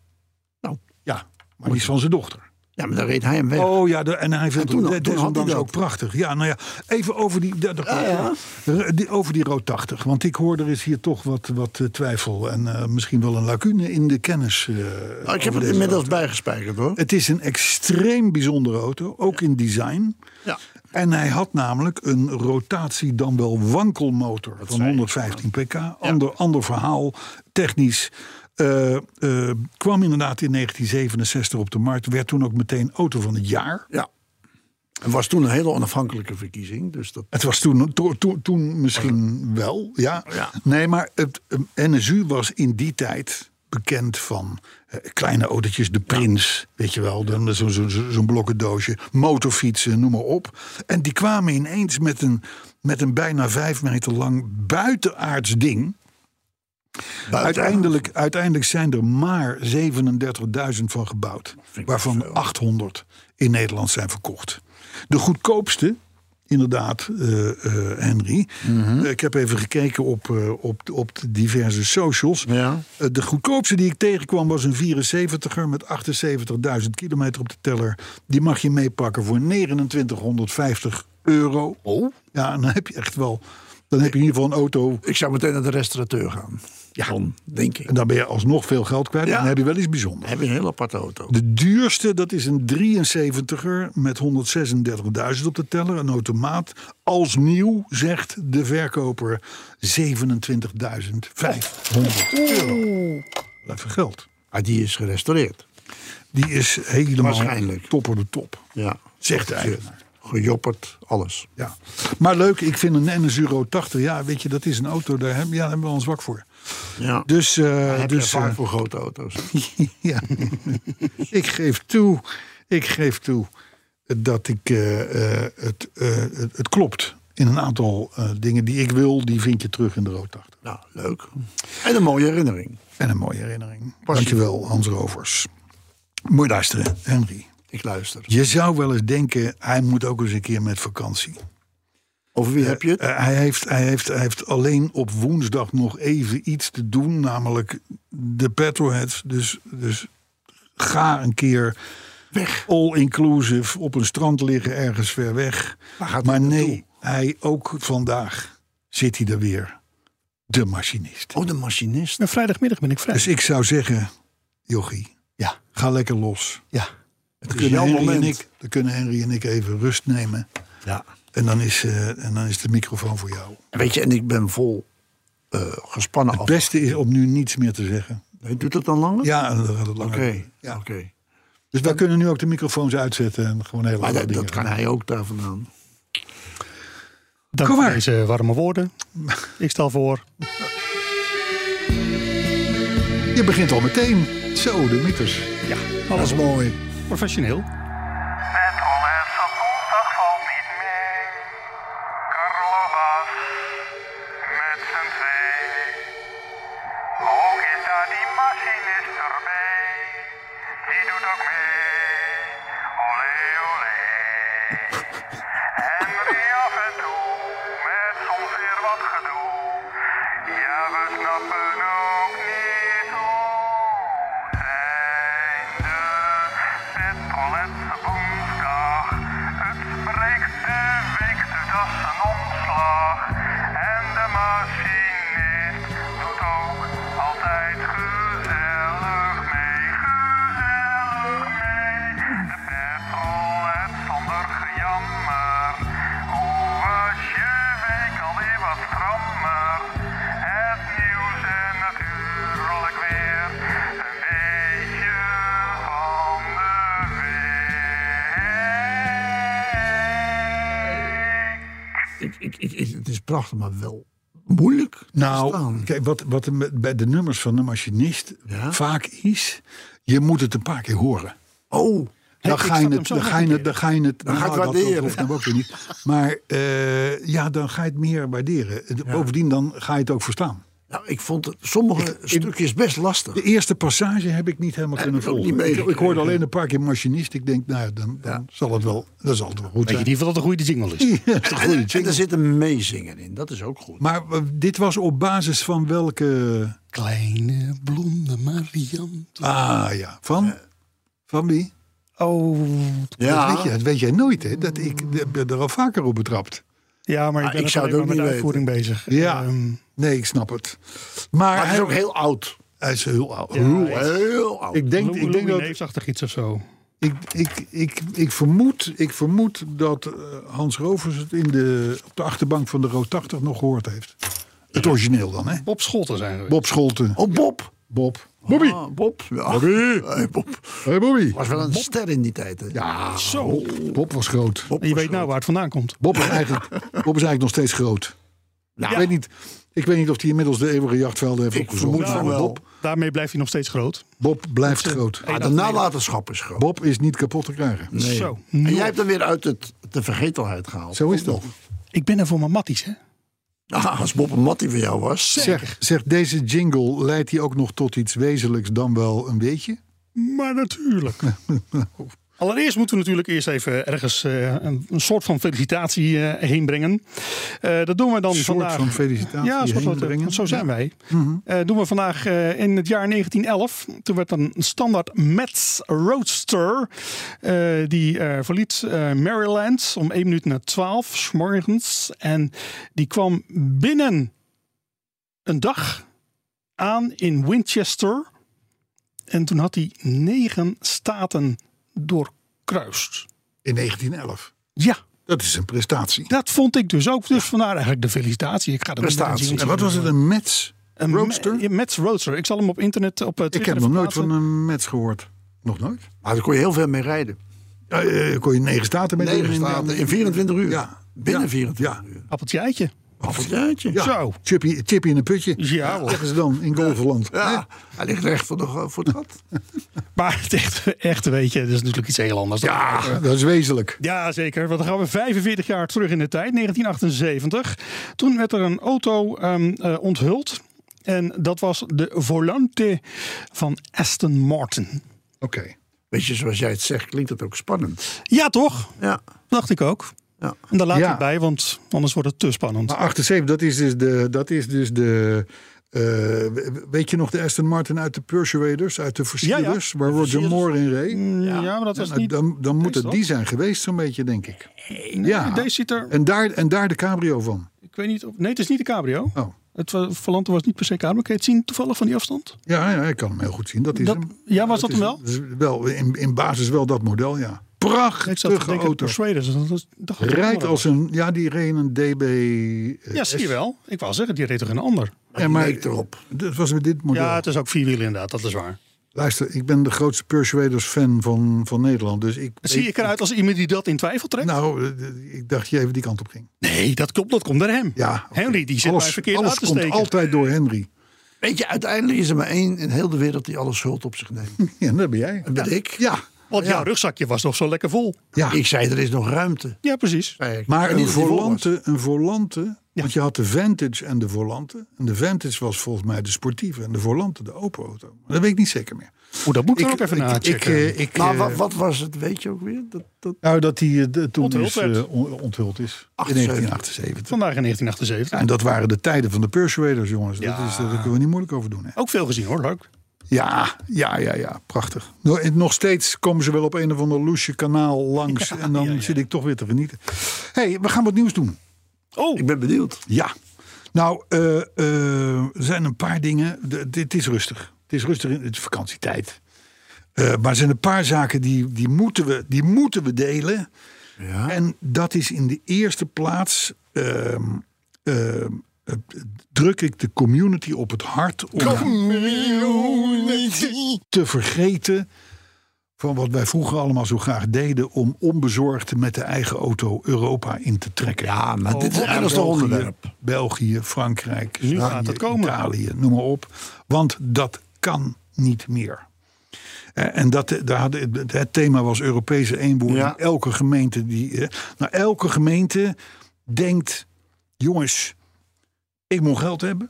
Nou. Ja, maar die is van zijn dochter. Ja, maar dan reed hij hem weg. Oh ja, de- en hij vindt toen- toen had het hij desondanks dat. Ah, ook prachtig. Ja, nou ja, even over die, daar- daar- r- die- over die Rood 80. Want ik hoor, er is hier toch wat, wat eh, twijfel. En eh, misschien wel een lacune in de kennis. eh, Nou, ik over heb het deze inmiddels auto. bijgespijkerd hoor. Het is een extreem bijzondere auto, ook in design. Ja. En hij had namelijk een rotatie dan wel wankelmotor van 115 pk. Ander, ander verhaal, technisch. Eh, eh, kwam inderdaad in 1967 op de markt. Werd toen ook meteen auto van het jaar. ja. Het was toen een hele onafhankelijke verkiezing. Dus dat... Het was toen, to- to- toen misschien wel, ja. Ja. Nee, maar het eh, NSU was in die tijd bekend van eh, kleine autootjes. De Prins, weet je wel, dan zo'n zo, zo, zo'n blokkendoosje. Motorfietsen, noem maar op. En die kwamen ineens met een, met een bijna vijf meter lang buitenaards ding... Uiteindelijk, uiteindelijk zijn er maar 37.000 van gebouwd. ik wel Waarvan veel. 800 in Nederland zijn verkocht. De goedkoopste, inderdaad, eh, eh, Henry. Mhm. Eh, ik heb even gekeken op, eh, op, op de diverse socials. Ja. Eh, de goedkoopste die ik tegenkwam was een 74er met 78.000 kilometer op de teller. Die mag je meepakken voor 2950 euro. Oh. Ja, dan heb je echt wel. Dan heb je in ieder geval een auto Ik zou meteen naar de restaurateur gaan. Ja. Dan denk ik. en dan ben je alsnog veel geld kwijt. Ja. En dan heb je wel iets bijzonders. Heb je een hele aparte auto. De duurste, dat is een 73er met 136.000 op de teller. Een automaat. Als nieuw, zegt de verkoper, 27.500 euro. Even geld. Ah, die is gerestaureerd. Die is helemaal Waarschijnlijk. topper de top. Ja. Zegt de eigenaar. Gejopperd, alles. Ja. Maar leuk, ik vind een NSU Road 80. Ja, weet je, dat is een auto. Daar hebben, ja, daar hebben we ons zwak voor. Ja. Dus, eh, heb je dus vaak eh, voor grote auto's. Ja, ik geef toe. Ik geef toe dat ik, eh, eh, het, eh, het, het klopt. In een aantal eh, dingen die ik wil, die vind je terug in de rood 80. Nou, leuk. En een mooie herinnering. En een mooie herinnering. Dankjewel, Hans Rovers. Mooi luisteren, Henry. Ik luister. Je zou wel eens denken, hij moet ook eens een keer met vakantie. Over wie heb je het? Eh, hij, heeft, hij, heeft, hij heeft alleen op woensdag nog even iets te doen, namelijk de petrolheads. Dus, dus ga een keer weg. All inclusive op een strand liggen ergens ver weg. Waar gaat maar hij nee, naartoe? hij ook vandaag zit hij er weer. De machinist. Oh, de machinist. Nou, vrijdagmiddag ben ik vrij. Dus ik zou zeggen, Jochie, Ja. ga lekker los. Ja. Het Dan is kunnen, jouw Henry en moment. ik, dan kunnen Henry en ik even rust nemen. Ja. En dan is, eh, en dan is de microfoon voor jou. En Weet je, en ik ben vol eh, gespannen af. Het beste is om nu niets meer te zeggen. Nee, Doet dat dan langer? Ja, dan gaat het langer. Oké. Ja. oké. Dus wij kunnen nu ook de microfoons uitzetten en gewoon hele Maar andere dat, dingen. dat kan hij ook daar vandaan. Dank Kom voor maar. deze warme woorden. Ik stel voor. Je begint al meteen. Zo, de mikkers. Ja, Dat alles is mooi. professioneel. Met Olens op woensdag valt niet mee. Carlo Bas met zijn twee. Ook is daar die machinist erbij. Die doet ook mee. Olé, olé. En weer af en toe met soms weer wat gedoe. Ja, we snappen ook niet hoe. Zijn de petroletse woensdag. Het breekt de week, dus dat is een omslag. En de machinist doet ook altijd gezellig mee. Gezellig mee. ik, ik, ik, ik- het is prachtig, maar wel moeilijk te Nou, verstaan. kijk, wat, wat er met- bij de nummers van de machinist Ja? vaak is, je moet het een paar keer horen. Oh, Dan ik ga, je snap hem het, zo dan, ga je het, dan ga je het. Dan ga je het nou, dat- waarderen. Dat hoeft nou ook weer niet. Maar eh, ja, dan ga je het meer waarderen. Bovendien, dan ga je het ook verstaan. nou, ik vond het, sommige stukjes best lastig. De eerste passage heb ik niet helemaal kunnen ik ook volgen. niet Ik, ik meegekregen. hoorde alleen een paar keer machinist. Ik denk, nou, dan, dan zal het wel, dan zal het wel goed Weet je in zijn. ieder geval dat het een goede jingle is. Ja, dat is een en, goede en jingle. er zit een meezinger in, dat is ook goed. Maar eh, dit was op basis van welke... Kleine blonde Marianne. Ah ja, van? Van wie? Oh, Dat, weet je, dat weet jij nooit, hè? Dat ik de- ben er al vaker op betrapt. ja, maar ik Ah, ben ik ook zou alleen het maar ook met de niet weten. uitvoering bezig. Ja. Ehm, Nee, ik snap het. Maar, maar het is hij, ook heel oud. hij is heel oud. Heel oud. Ik denk, Lou- ik denk Louis dat Neefsachtig iets of zo. Ik, ik, ik, ik, vermoed, ik vermoed dat eh, Hans Rovers het in de, op de achterbank van de Rood 80 nog gehoord heeft. Het origineel dan, hè? Bob Scholten zijn we. Bob Scholten. Oh, Bob. Bob. Bobby. Bob. Ja. Bobby. Hey, Bob. Hey Bobby. Was wel een ster in die tijd. Hè? Ja, Zo. Bob was groot. Bob En je was weet nou waar het vandaan komt. Bob is eigenlijk, Bob is eigenlijk nog steeds groot. Ik, weet niet, ik weet niet of hij inmiddels de eeuwige jachtvelden heeft Nou. Ik opgezocht. vermoed van maar wel. Bob, Daarmee blijft hij nog steeds groot. Bob blijft groot. Maar de nalatenschap is groot. Bob Ah, is niet kapot te krijgen. Nee. Zo. En Nou, jij hebt hem weer uit het, de vergetelheid gehaald. Zo is dat. Ik ben er voor mijn matties, hè? Ah, als Bob een mattie van jou was. Zeg, zeg, deze jingle leidt hij ook nog tot iets wezenlijks dan wel een beetje? Maar natuurlijk. Allereerst moeten we natuurlijk eerst even ergens eh, een, een soort van felicitatie eh, heen brengen. Eh, dat doen we dan Een soort vandaag. van felicitatie Ja, een soort heen van- brengen. zo zijn Ja. wij. Eh, doen we vandaag eh, in het jaar 1911. Toen werd een standaard Mets Roadster. eh, die eh, verliet eh, Maryland om 1 minuut na 12 's morgens. En die kwam binnen een dag aan in Winchester. En toen had hij negen staten doorkruist. In 1911. Ja, Dat is een prestatie. dat vond ik dus ook. Dus vandaar eigenlijk de felicitatie. Ik ga er Prestatie. En wat was het, een match? Een roadster? Me- Mets Roadster. Ik zal hem op internet op eh, Twitter Ik heb nog even nooit van plaatsen. een match gehoord. Nog nooit? Maar daar kon je heel veel mee rijden. Eh, eh, kon je negen staten met Negen in- staten in 24 uur. Ja. Binnen Ja. 24 Ja. uur. appeltje eitje. Appeltje. Ja, Zo. Chippy, chippy in een putje. Ja, hoor. Zeggen ze dan in Golverland. Ja, hij ligt recht voor, de, voor het gat. Maar het echte, echte weet je, dat is natuurlijk iets heel anders. Ja, dat is wezenlijk. Ja, zeker. Want dan gaan we 45 jaar terug in de tijd, 1978. Toen werd er een auto ehm, eh, onthuld. En dat was de Volante van Aston Martin. Oké. Weet je, zoals jij het zegt, klinkt het ook spannend. Ja, toch? Ja. Dacht ik ook. Ja. En daar laat Ja. ik het bij, want anders wordt het te spannend. Maar 78, dat is dus de... Dat is dus de eh, weet je nog de Aston Martin uit de Persuaders? Uit de Versierders? Waar Roger Moore in reed? ja, maar Mm, dat was Nou, niet... dan dan moet deze, het die zijn geweest zo'n beetje, denk ik. Nee, ja. Deze zit er... En daar, en daar de cabrio van. Ik weet niet of... Nee, het is niet de cabrio. Oh. Het eh, Volante was niet per se cabrio. Kun je het zien toevallig van die afstand? Ja, ja, ik kan hem heel goed zien. Dat is Dat- hem. ja, was dat hem wel? is- is wel in, in basis wel dat model, ja. Ik zat te Prachtige denken, auto. Persuaders. dat was- dacht ik- Rijdt als een... Ja, die reed een DB... eh, Ja, zie je wel. Ik wou zeggen, die reed toch een ander? en maar leek erop. Dat was met dit model. Ja, het is ook vierwielen inderdaad, dat is waar. Luister, ik ben de grootste Persuaders fan van, van Nederland. Dus ik... Zie ik eruit als iemand die dat in twijfel trekt? Nou, eh, ik dacht je even die kant op ging. nee, dat komt, dat komt door hem. Ja. Henry, die zit mij alles verkeerd alles aan te komt steken. altijd door Henry. Weet je, uiteindelijk is er maar één in heel de wereld die alle schuld op zich neemt. Ja, dat ben jij. Dat ben ik. Ja. Want jouw rugzakje was nog zo lekker vol. ja. Ik zei, er is nog ruimte. Ja, precies. Zei ik. Maar En een niet dat die vol was. volante, een volante, want je had de Vantage en de volante. En de Vantage was volgens mij de sportieve en de volante de open auto. Maar dat weet ik niet zeker meer. Oeh, dat moet ik er ook even ik, na ik, checken. eh, ik, Maar eh, wat, wat was het, weet je ook weer? Dat, dat... Nou, dat die eh, de- toen Onthuld is, werd. eh, on- onthuld is. 78. In 1978. Vandaag in 1978. En dat waren de tijden van de Persuaders, jongens. Dat Ja. is, daar kunnen we niet moeilijk over doen. Hè? Ook veel gezien hoor, leuk. Ja, ja, ja, ja, prachtig. No- en Nog steeds komen ze wel op een of ander loesje kanaal langs. en dan zit ik toch weer te genieten. hey, we gaan wat nieuws doen. Oh, Ik ben benieuwd. Ja. Nou, eh, eh, er zijn een paar dingen. De- Dit is rustig. Het is rustig in het is vakantietijd. Eh, maar er zijn een paar zaken die, die, moeten, we, die moeten we delen. En dat is in de eerste plaats. ehm, ehm, eh, druk ik de community op het hart om te vergeten van wat wij vroeger allemaal zo graag deden om onbezorgd met de eigen auto Europa in te trekken. Ja, maar dit is Aan ernstig België, onderwerp. België, Frankrijk, Nu gaat Spanje, het komen. Italië, noem maar op. Want dat kan niet meer. Eh, En dat, eh, daar hadden, het- het thema was Europese eenboer. Ja. Elke gemeente die. eh, Nou, elke gemeente denkt: jongens, ik moet geld hebben.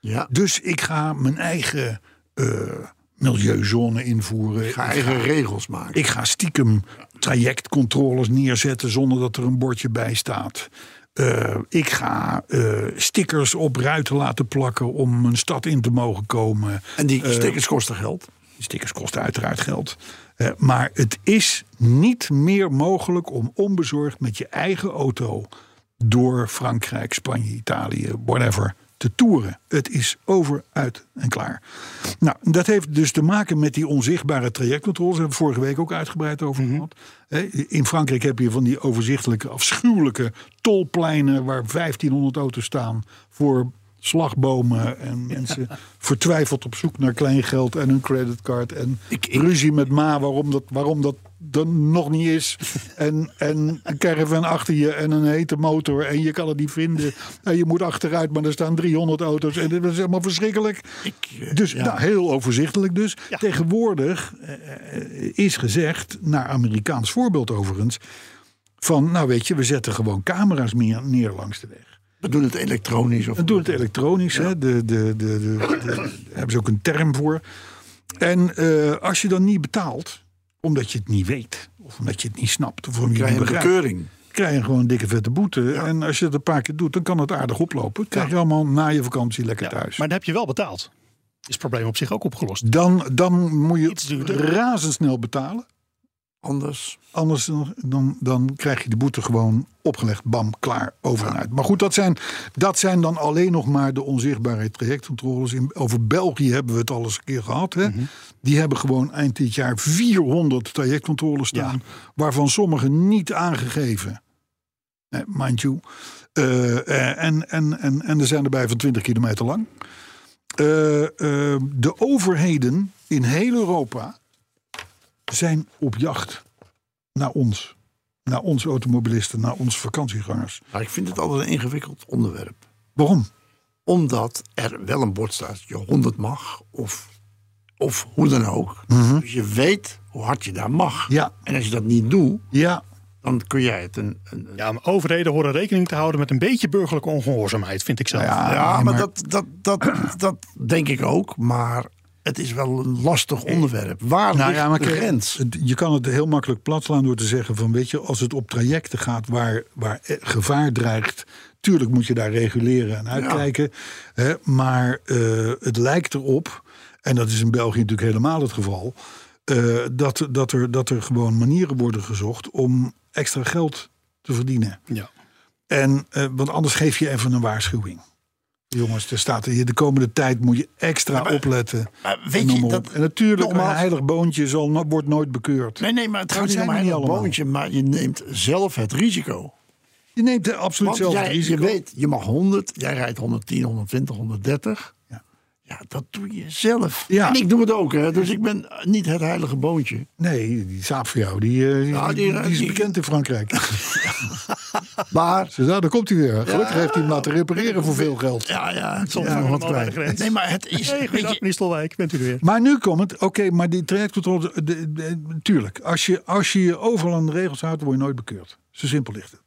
Ja. Dus ik ga mijn eigen eh, milieuzone invoeren. Ik ga eigen regels maken. Ik ga stiekem trajectcontroles neerzetten zonder dat er een bordje bij staat. Eh, ik ga eh, stickers op ruiten laten plakken om een stad in te mogen komen. Eh, en die stickers kosten geld. Die stickers kosten uiteraard geld. Eh, maar het is niet meer mogelijk om onbezorgd met je eigen auto door Frankrijk, Spanje, Italië, whatever, te toeren. Het is over, uit en klaar. Nou, dat heeft dus te maken met die onzichtbare trajectcontroles. Daar hebben we vorige week ook uitgebreid over gehad. Eh, In Frankrijk heb je van die overzichtelijke, afschuwelijke tolpleinen... waar 1500 auto's staan voor slagbomen en mensen vertwijfeld op zoek naar kleingeld en hun creditcard en ruzie met ma waarom dat, waarom dat er nog niet is en, en een caravan achter je en een hete motor en je kan het niet vinden en je moet achteruit maar er staan 300 auto's en dat is helemaal verschrikkelijk dus nou, heel overzichtelijk dus tegenwoordig eh, eh, is gezegd naar Amerikaans voorbeeld overigens van nou weet je we zetten gewoon camera's meer, neer langs de weg We doen het elektronisch. Of en doen het elektronisch. Hè? De, de, de, de, de- daar hebben ze ook een term voor. En eh, als je dan niet betaalt, omdat je het niet weet, of omdat je het niet snapt, of omdat je het krijg niet je een begrijpt, bekeuring. krijg je gewoon een dikke vette boete. En als je dat een paar keer doet, dan kan het aardig oplopen. Krijg je allemaal na je vakantie lekker thuis. Maar dan heb je wel betaald. Is het probleem op zich ook opgelost. Dan, dan moet Iets je duurder. razendsnel betalen. Anders. Anders dan, dan, dan krijg je de boete gewoon opgelegd. Bam, klaar, over en uit. Maar goed, dat zijn, dat zijn dan alleen nog maar de onzichtbare trajectcontroles. In, over België hebben we het al eens een keer gehad. Hè? Die hebben gewoon eind dit jaar 400 trajectcontroles staan. Waarvan sommige niet aangegeven. Eh, mind you. Eh, eh, en, en, en, en er zijn erbij van 20 kilometer lang. Eh, eh, de overheden in heel Europa zijn op jacht naar ons. Naar onze automobilisten, naar onze vakantiegangers. Maar ik vind het altijd een ingewikkeld onderwerp. Waarom? Omdat er wel een bord staat, je 100 mag of, of hoe dan ook. Dus je weet hoe hard je daar mag. Mhm. Ja. En als je dat niet doet, Ja, dan kun jij het een... een een- Ja, maar overheden horen rekening te houden met een beetje burgerlijke ongehoorzaamheid, vind ik zelf. ja, ja, nee, maar, Dat, dat, dat, dat denk ik ook. Maar het is wel een lastig onderwerp. Waar Nou ligt ja, maar de kijk, grens? het- Je kan het heel makkelijk plat slaan door te zeggen van... weet je, als het op trajecten gaat waar, waar eh, gevaar dreigt... tuurlijk moet je daar reguleren en uitkijken. Hè, maar eh, het lijkt erop, en dat is in België natuurlijk helemaal het geval... eh, dat, dat, er, dat er gewoon manieren worden gezocht om extra geld te verdienen. Ja. En, eh, want anders geef je even een waarschuwing. Jongens, er staat hier de komende tijd moet je extra opletten. maar weet en noem je, maar op. dat- en natuurlijk, nogmaals- een heilig boontje zal, no- wordt nooit bekeurd. Nee, nee, maar het Dat gaat niet zijn om we een niet heel allemaal. boontje, maar je neemt zelf het risico. Je neemt er absoluut Want zelf het jij, je risico. weet, je mag 100, jij rijdt 110, 120, 130. Ja. Ja, dat doe je zelf. Ja. En ik doe het ook, hè, dus ik ben niet het heilige boontje. Nee, die saap voor jou, die, eh, Ja, die, die- die is die- bekend in Frankrijk. Maar, Ze daar komt hij weer. Gelukkig heeft hij hem laten repareren voor veel geld. ja, ja, soms Ja, nog wat helemaal bij de kwijt. grens. Nee, maar het is... Hey, weet goeiedag, je, meneer Stolwijk, bent u er weer. Maar nu komt het, oké, maar die trajectcontrole, de- de- de- tuurlijk, als je, als je je overal aan de regels houdt, word je nooit bekeurd. Zo simpel ligt het.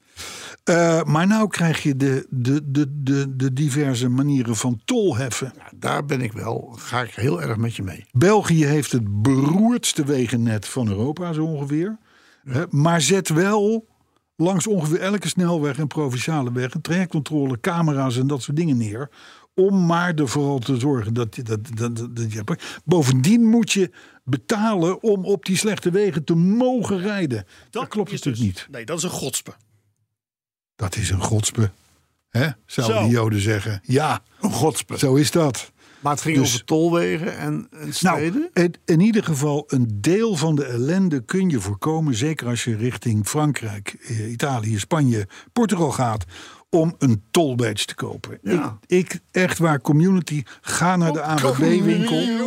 Eh, maar nou krijg je de, de, de, de, de diverse manieren van tol heffen. daar ben ik wel, ga ik heel erg met je mee. België heeft het beroerdste wegennet van Europa, zo ongeveer. Hè, Maar zet wel langs ongeveer elke snelweg en provinciale weg... een trajectcontrole, camera's en dat soort dingen neer... om maar er vooral te zorgen dat je... Dat, dat, dat, dat je bovendien moet je betalen om op die slechte wegen te mogen rijden. Dat, klopt is natuurlijk dus- niet. Nee, dat is een godspe. Dat is een godspe, hè? zouden Zo. de joden zeggen. Ja, Een Oh, godspe. zo is dat. Maar het ging Dus- over tolwegen en, en steden. Nou, het- in ieder geval een deel van de ellende kun je voorkomen. Zeker als je richting Frankrijk, eh, Italië, Spanje, Portugal gaat. Om een toll badge te kopen. Ja. Ik, ik, echt waar, community, ga naar de AWB-winkel. niet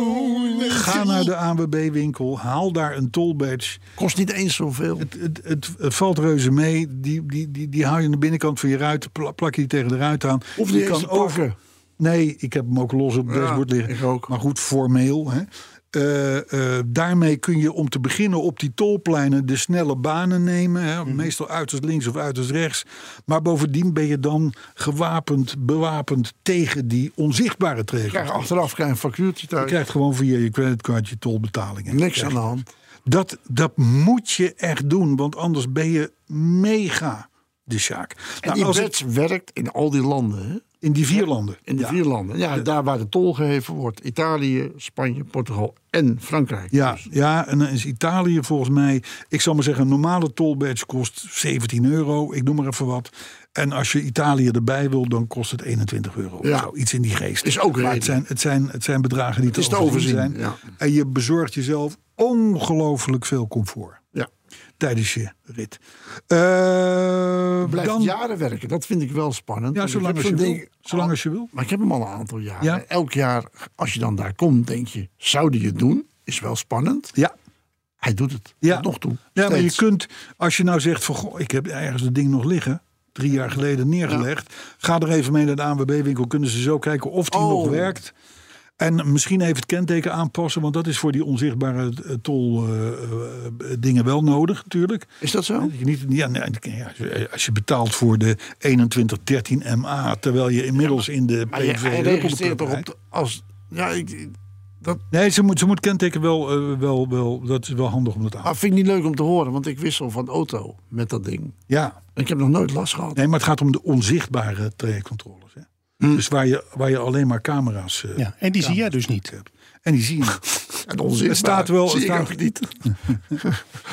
Ga naar de ANWB-winkel, haal daar een tollbadge. Kost niet eens zoveel. Het, het, het, het valt reuze mee. Die, die, die, die hou je aan de binnenkant van je ruit, pla- plak je die tegen de ruit aan. Of Je die kan over. Nee, ik heb hem ook los op het Ja, dashboard liggen. ik ook. Maar goed, formeel. Hè. Eh, eh, daarmee kun je om te beginnen op die tolpleinen de snelle banen nemen. Hè. Mhm. Meestal uiterst links of uiterst rechts. Maar bovendien ben je dan gewapend, bewapend tegen die onzichtbare Ik krijg tregels. achteraf krijg een factuurtje Je thuis. krijgt gewoon via je creditcard je tolbetalingen. Niks aan de hand. Dat, dat moet je echt doen, want anders ben je mega de sjaak. En Nou, die als het- wet werkt in al die landen. Hè? in die vier landen. In de Ja. vier landen. Ja, daar waar de tol geheven wordt. Italië, Spanje, Portugal en Frankrijk. Ja, Dus ja, en dan is Italië volgens mij, ik zal maar zeggen, een normale tollbadge kost 17 euro, ik noem maar even wat. En als je Italië erbij wil, dan kost het 21 euro. Ja. Of zo, iets in die geest. Is ook maar redelijk. het zijn, het, zijn, het zijn bedragen die is te te overzien zijn. overzien, En je bezorgt jezelf ongelooflijk veel comfort ja. tijdens je rit. Eh, Blijft dan, jaren werken. Dat vind ik wel spannend. ja, Want ik zolang heb als je zo'n wil. ding- Zolang als je wil. Maar ik heb hem al een aantal jaren. Ja. Elk jaar, als je dan daar komt, denk je... zouden je het doen? Is wel spannend. Ja. Hij doet het. Ja. Tot nog toe. Ja, maar je Steeds. kunt, als je nou zegt van goh, ik heb ergens het ding nog liggen, drie jaar geleden neergelegd, ga er even mee naar de ANWB-winkel, kunnen ze zo kijken of die Oh. nog werkt. En misschien even het kenteken aanpassen, want dat is voor die onzichtbare eh, tol-dingen eh, wel nodig, natuurlijk. Is dat zo? Dat je niet, ja, nee, ja, als je betaalt voor de 2113 MA, terwijl je inmiddels in de Maar je, PV hij Huppelde registreert toch op... rijdt. de- als, ja, ik, dat Nee, ze moet, ze moet kenteken wel, eh, wel, wel, dat is wel handig om dat aan te ah, vind ik niet leuk om te horen. Want ik wissel van auto met dat ding. Ja, Ik heb nog nooit last gehad. Nee, maar het gaat om de onzichtbare trajectcontroles. Hè? Hm. Dus waar je, waar je alleen maar camera's eh, Ja, en die zie jij dus niet. hebt. En die zie je niet. En onzinbaar. Het staat wel- Zie het ik staat- ook niet.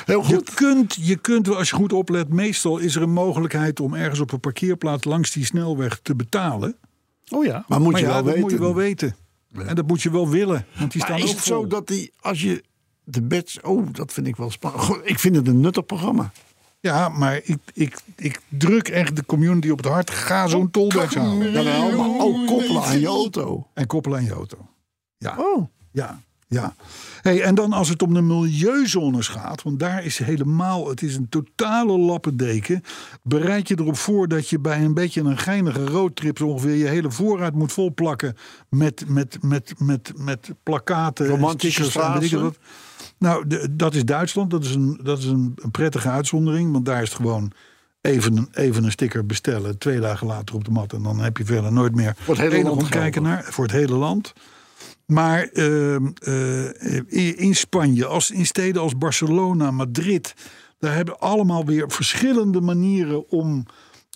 Heel Je goed. kunt, je kunt, wel, als je goed oplet, meestal is er een mogelijkheid om ergens op een parkeerplaats langs die snelweg te betalen. Oh ja. Maar moet Maar je ja, wel dat weten. moet je wel weten. En dat moet je wel willen. Want die Maar staan is ook het zo vol. dat die, als je de badge... Oh, dat vind ik wel spannend. Goh, ik vind het een nuttig programma. Ja, maar ik, ik, ik druk echt de community op het hart. Ga zo'n tolbadge halen. Jawel, maar ook koppelen aan je auto. En koppelen aan je auto. Ja. Oh. Ja, ja. Hey, en dan als het om de milieuzones gaat, want daar is helemaal, het is een totale lappendeken. Bereid je erop voor dat je bij een beetje een geinige roadtrip zo ongeveer je hele voorraad moet volplakken met, met, met, met, met plakaten, Romantische stickers en weet ik frasen. wat. Nou, de- dat is Duitsland. Dat is, een, dat is een, een prettige uitzondering, want daar is het gewoon even, een- even een sticker bestellen, twee dagen later op de mat en dan heb je verder nooit meer Voor het hele enig land omkijken naar voor het hele land. Maar ehm, eh, in- in Spanje, als, in steden als Barcelona, Madrid, daar hebben allemaal weer verschillende manieren om,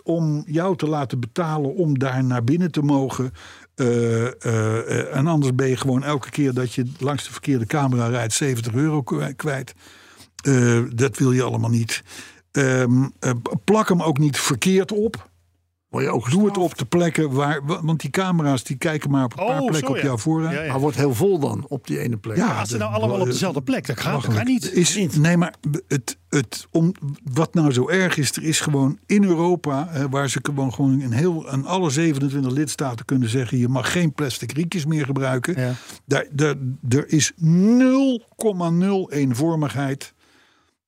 om jou te laten betalen om daar naar binnen te mogen. Eh, eh, eh, en anders ben je gewoon elke keer dat je langs de verkeerde camera rijdt 70 euro kwe- kwijt. Eh, dat wil je allemaal niet. Ehm, eh, plak hem ook niet verkeerd op. Word je ook Doe het gestraft. op de plekken waar. wa- Want die camera's die kijken maar op een Oh, paar plekken zo, op ja. jouw voorraad. Ja, ja. Maar wordt heel vol dan, op die ene plek. Ja. Als ze de- nou allemaal op dezelfde plek, dat gaat, dat gaat niet. Is, Nee, maar het, het, om, wat nou zo erg is, er is gewoon in Europa, hè, waar ze gewoon, gewoon in, heel, in alle 27 lidstaten kunnen zeggen: je mag geen plastic rietjes meer gebruiken. Ja. Daar, daar, er is 0,0 eenvormigheid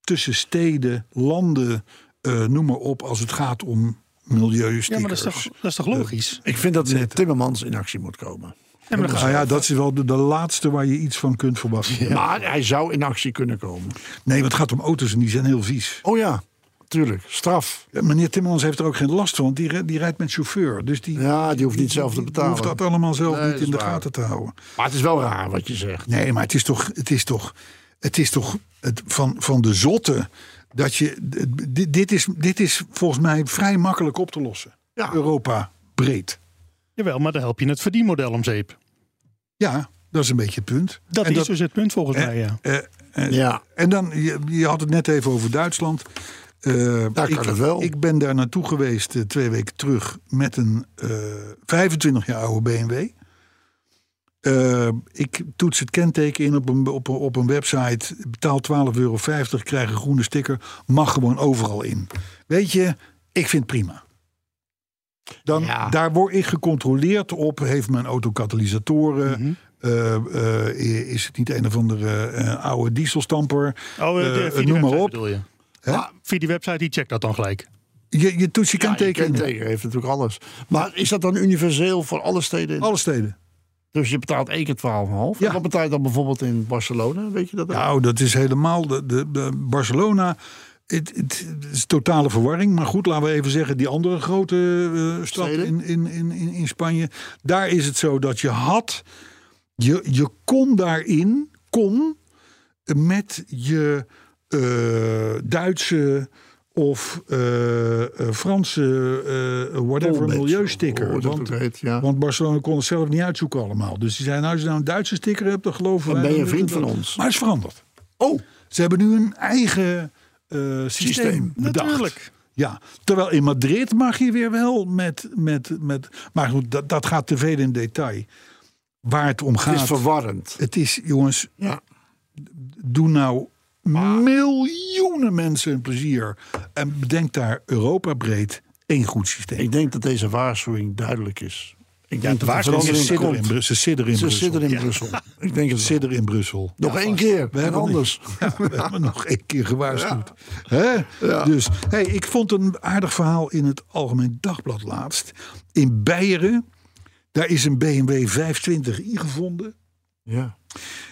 tussen steden, landen, eh, noem maar op, als het gaat om milieustickers. Ja, maar dat is toch, dat is toch logisch? Ik vind dat meneer Timmermans in actie moet komen. Ja, maar dan Nou ja, dat is wel de, de laatste waar je iets van kunt verwachten. Maar hij zou in actie kunnen komen. Nee, want het gaat om auto's en die zijn heel vies. Oh ja, tuurlijk. Straf. Ja, Meneer Timmermans heeft er ook geen last van, want die, ri- die rijdt met chauffeur. Dus die, Ja, die hoeft niet zelf te die betalen. hoeft dat allemaal zelf Nee, niet dat in de is waar. gaten te houden. Maar het is wel raar wat je zegt. Nee, maar het is toch, het is toch, het is toch het, van, van de zotte dat je. d- Dit, dit, is, dit is volgens mij vrij makkelijk op te lossen. Ja. Europa breed. Jawel, maar dan help je het verdienmodel om zeep. Ja, dat is een beetje het punt. Dat En is dus het punt volgens mij, ja. eh, eh, Ja. En dan, je, je had het net even over Duitsland. Eh, Daar kan ik, het wel. Ik ben daar naartoe geweest eh, twee weken terug met een eh, 25 jaar oude BMW. Eh, ik toets het kenteken in op een, op, een- op een website. Betaal 12,50 euro, krijg een groene sticker. Mag gewoon overal in. Weet je, ik vind het prima. Dan, Ja. Daar word ik gecontroleerd op. Heeft mijn auto katalysatoren? eh, eh, is het niet een of andere eh, oude dieselstamper? Oh, eh, de, Eh, via die noem maar website op. bedoel je? Hè? Ah, via die website, die checkt dat dan gelijk. Je, je toets je Ja, je kenteken. kenteken heeft natuurlijk alles. Maar is dat dan universeel voor alle steden? Alle steden. Dus je betaalt één keer 12,5. Ja. En wat betaal je dan bijvoorbeeld in Barcelona? Weet je dat? ook? Nou, dat is helemaal de, de, de Barcelona. Het, het is totale verwarring. Maar goed, laten we even zeggen, die andere grote eh, stad Steden? in, in, in, in, in Spanje. Daar is het zo dat je had, je, je kon daarin, kon met je eh, Duitse of eh, eh, Franse eh, whatever Tolbadge, milieusticker. hoe dat Want, ook heet, ja. want Barcelona kon het zelf niet uitzoeken allemaal. Dus die zeiden, nou, als je nou een Duitse sticker hebt, dan geloven Dan wij... ben je dat vriend het- van ons. Maar het is veranderd. Oh, Ze hebben nu een eigen eh, systeem, Systeem. bedacht. Natuurlijk. Ja, terwijl in Madrid mag je weer wel met... met, met maar goed, dat, dat gaat te veel in detail. Waar het om het gaat... is verwarrend. het is, jongens, Ja. doe nou Ah. miljoenen mensen een plezier. En bedenk daar Europa breed één goed systeem. Ik denk dat deze waarschuwing duidelijk is. Ik denk de dat er waarschuwing is sidder verandering in, komt. Bru- ze sidder in Ze Brussel. zitten in Brussel. Ik denk het wel. Sidder in Brussel. Nog één keer. We en hebben anders. niks. Ja, we hebben nog één keer gewaarschuwd. Hè? Dus hey, ik vond een aardig verhaal in het Algemeen Dagblad laatst. In Beieren, daar is een BMW 520i gevonden. Ja.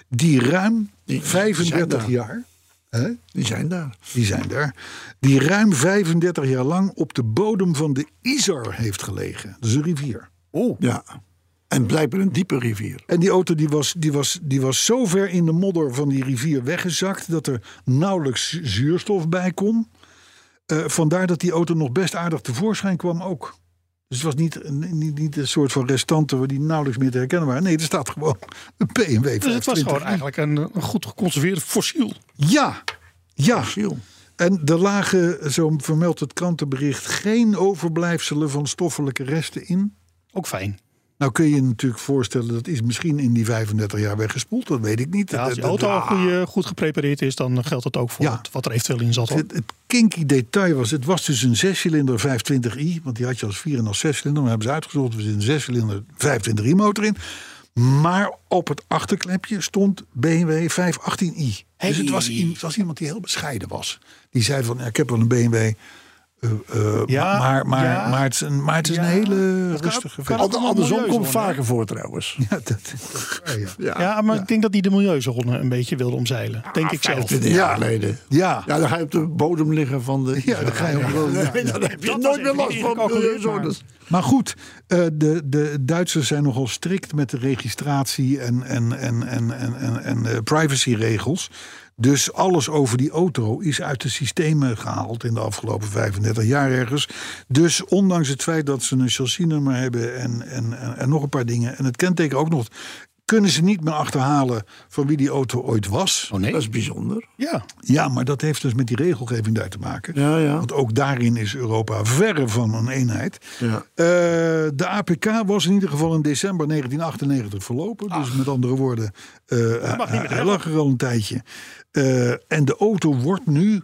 Die ruim Die- die zijn 35 daar. jaar, hè, Die zijn daar. die zijn daar, die ruim 35 jaar lang op de bodem van de Isar heeft gelegen. Dat is een rivier. Ja. En blijkbaar een diepe rivier. En die auto die was, die, was, die was zo ver in de modder van die rivier weggezakt dat er nauwelijks zu- zuurstof bij kon. Eh, vandaar dat die auto nog best aardig tevoorschijn kwam ook. Dus het was niet, een- niet, niet een soort van restanten waar die nauwelijks meer te herkennen waren. Nee, er staat gewoon een BMW. Dus het was 520i. gewoon eigenlijk een, een goed geconserveerd fossiel. Ja, ja. Fossiel. En er lagen, zo vermeldt het krantenbericht, geen overblijfselen van stoffelijke resten in. Ook fijn. Nou kun je je natuurlijk voorstellen, dat is misschien in die 35 jaar weggespoeld. Dat weet ik niet. Ja, als die Dat- Ah. dat- auto al goeie- goed geprepareerd is, dan geldt dat ook voor Ja. het- wat er eventueel in zat. hoor. Het, het kinky detail was, het was dus een zescilinder 520i. Want die had je als 4 en als zescilinder. Maar hebben ze uitgezocht, er zit een zescilinder 520i motor in. Maar op het achterklepje stond BMW 518i. Dus het was, i- het was iemand die heel bescheiden was. Die zei van, ja, ik heb wel een BMW... eh, eh, Ja, maar, maar, ja. maar het is een, maar het is een hele Het kan- rustige kan- vent. Ander- Andersom milieuzone, komt vaker voor trouwens. Ja, dat, dat- ja, ja. Ja, maar ik denk dat die de milieuzone een beetje wilde omzeilen. denk ik zelf. 25 jaar geleden. Ja. ja, dan ga je op de bodem liggen van de... Ja, dan ga je op de bodem, ja. Nee, dan heb je Dat was nooit meer even last niet van ingecalculeerd, milieuzones. Maar goed, eh, de, de Duitsers zijn nogal strikt met de registratie en, en, en, en, en, en, en eh, privacyregels. Dus alles over die auto is uit de systemen gehaald in de afgelopen 35 jaar ergens. Dus ondanks het feit dat ze een chassisnummer hebben en, en, en, en nog een paar dingen. En het kenteken ook nog. Kunnen ze niet meer achterhalen van wie die auto ooit was. Oh nee? Dat is bijzonder. Ja. Ja, maar dat heeft dus met die regelgeving daar te maken. Ja, ja. Want ook daarin is Europa verre van een eenheid. Ja. Eh, de APK was in ieder geval in december 1998 verlopen. Dus met andere woorden, eh, hij hij lag er al een tijdje. Eh, en de auto wordt nu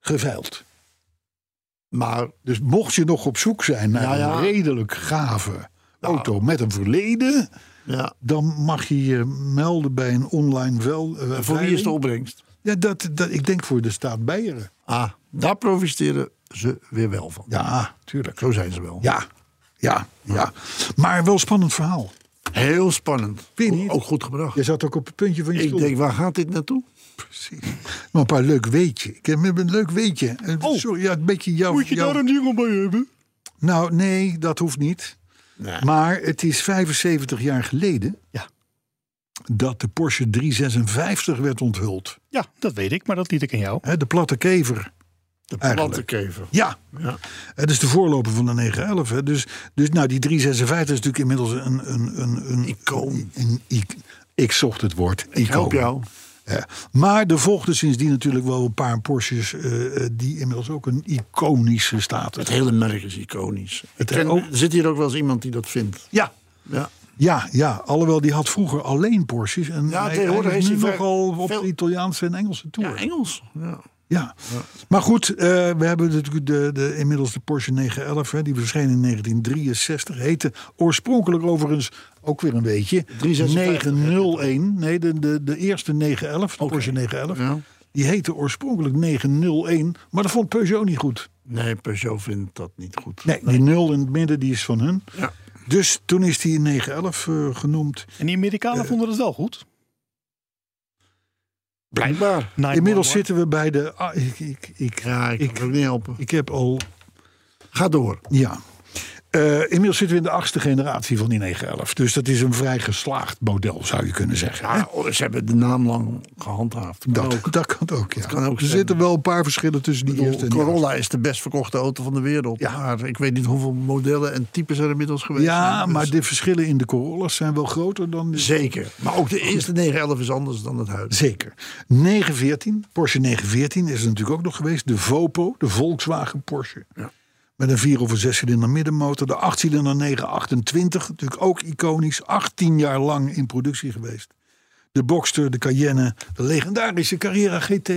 geveild. Maar Dus mocht je nog op zoek zijn naar Ja, ja. een redelijk gave auto met een verleden... ja, dan mag je je melden bij een online wel... eh, voor wie is veiling. de opbrengst? Ja, dat, dat, ik denk voor de staat Beieren. Ah, daar profiteren ze weer wel van. Ja, tuurlijk. Zo zijn ze wel. Ja, ja, ja. Maar wel spannend verhaal. Heel spannend. Vind je niet? Ook goed gebracht. Je zat ook op het puntje van je Ik stoel. denk, waar gaat dit naartoe? Precies. Maar een paar leuk weetje. Ik heb een leuk weetje. Eh, Oh. Sorry, ja, een beetje jouw... Moet je jouw- daar een jingle bij hebben? Nou, nee, dat hoeft niet. Maar het is 75 jaar geleden Ja. dat de Porsche 356 werd onthuld. Ja, dat weet ik, maar dat liet ik aan jou. Hè, de platte kever. De Eigenlijk. plattenkever. Ja. Ja. Het is de voorloper van de 911. Hè. Dus, dus nou, die 356 is natuurlijk inmiddels een... een, een, een Icoon. een- ik, ik zocht het woord. Icoon. Ik help jou. Ja. Maar er volgden sindsdien natuurlijk wel een paar Porsches... eh, eh, die inmiddels ook een iconische status Het hele merk is iconisch. Ik ken- ook- er zit hier ook wel eens iemand die dat vindt. Ja. Ja. Ja, ja, alhoewel die had vroeger alleen Porsches. En Ja, hij, tegenwoordig hij is is nu hij ver- nogal op veel- de Italiaanse en Engelse tour. Ja, Engels. Ja. Ja. maar goed, eh, we hebben natuurlijk de, de, inmiddels de Porsche 911, hè, die verscheen in 1963. Heette oorspronkelijk overigens ook weer een beetje 356, 901. Nee, de, de, de eerste 911, de Porsche 911, Ja. die heette oorspronkelijk 901, maar dat vond Peugeot niet goed. Nee, Peugeot vindt dat niet goed. Nee, die 0 in het midden die is van hun. Ja. Dus toen is die 911 eh, genoemd. En die Amerikanen vonden het wel goed. Blijkbaar. Inmiddels zitten we bij de. ah, ik, ik, ik, Ja, ik kan ik, het ook niet helpen. ik heb al Ga door. Ja. Eh, inmiddels zitten we in de achtste generatie van die 911. Dus dat is een vrij geslaagd model, zou je kunnen zeggen. hè? Ja, oh, ze hebben de naam lang gehandhaafd. Kan dat, ook. dat kan ook, ja. kan ook er zijn. zitten wel een paar verschillen tussen Ik die bedoel, eerste en die Corolla is de best verkochte auto van de wereld. Ja. Maar ik weet niet hoeveel modellen en types er inmiddels geweest laatste. Ja, zijn. Dus maar de verschillen in de Corollas zijn wel groter dan... de- Zeker. Maar ook de eerste 911 is anders dan het huidige. Zeker. 914, Porsche 914 is er natuurlijk ook nog geweest. De Vopo, de Volkswagen Porsche. Met een 4 of een 6 cilinder middenmotor. De 8 cilinder 928, natuurlijk ook iconisch. 18 jaar lang in productie geweest. De Boxster, de Cayenne, de legendarische Carrera GT.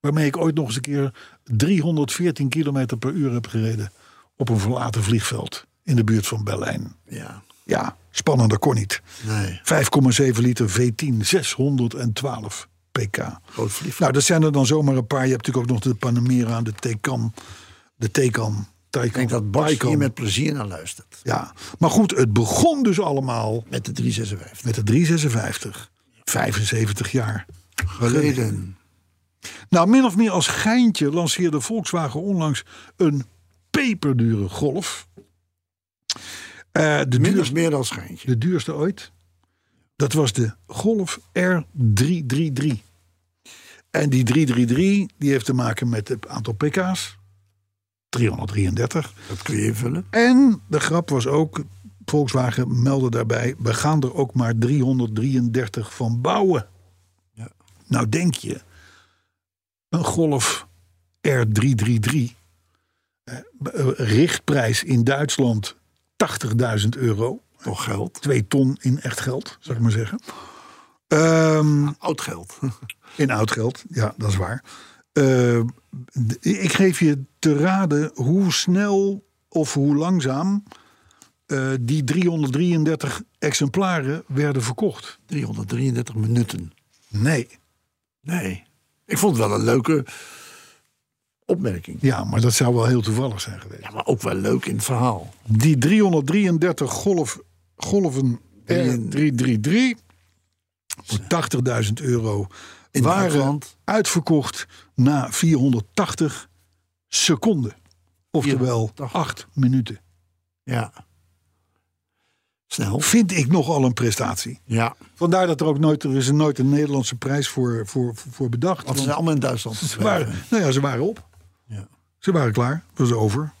Waarmee ik ooit nog eens een keer 314 km per uur heb gereden. Op een verlaten vliegveld in de buurt van Berlijn. Ja. Ja, spannender kon niet. Nee. 5,7 liter V10, 612 pk. Groot verliefd. Nou, dat zijn er dan zomaar een paar. Je hebt natuurlijk ook nog de Panamera, de Taycan, de Taycan, Taycan, ik denk dat Bas Taycan. hier met plezier naar luistert. Ja, maar goed, het begon dus allemaal Met de 356. met de 356. 75 jaar. Geleden. Nou, min of meer als geintje lanceerde Volkswagen onlangs een peperdure Golf. Eh, de, Min duurste, of meer dan schijntje. de duurste ooit. Dat was de Golf R333. En die 333 die heeft te maken met het aantal pk's. 333. Dat kun je invullen. En de grap was ook, Volkswagen meldde daarbij... we gaan er ook maar 333 van bouwen. Ja. Nou denk je, een Golf R333... eh, eh, richtprijs in Duitsland 80.000 euro. Toch geld. Twee ton in echt geld, zou ik maar zeggen. Ehm, Oud geld. in oud geld, ja, dat is waar. Eh, d- ik geef je te raden hoe snel of hoe langzaam eh, die 333 exemplaren werden verkocht. 333 minuten. Nee. Nee. Ik vond het wel een leuke opmerking. Ja, maar dat zou wel heel toevallig zijn geweest. Ja, maar ook wel leuk in het verhaal. Die 333 golf, golven eh, R333 voor 80.000 euro In waren Duitsland. uitverkocht na 480 seconden. Oftewel 480. 8 minuten. Ja. Snel. Vind ik nogal een prestatie. Ja. Vandaar dat er ook nooit, er is nooit een Nederlandse prijs voor, voor, voor bedacht. Want ze Want zijn allemaal in Duitsland. ze waren, nou ja, ze waren op. Ja. Ze waren klaar. Het was over.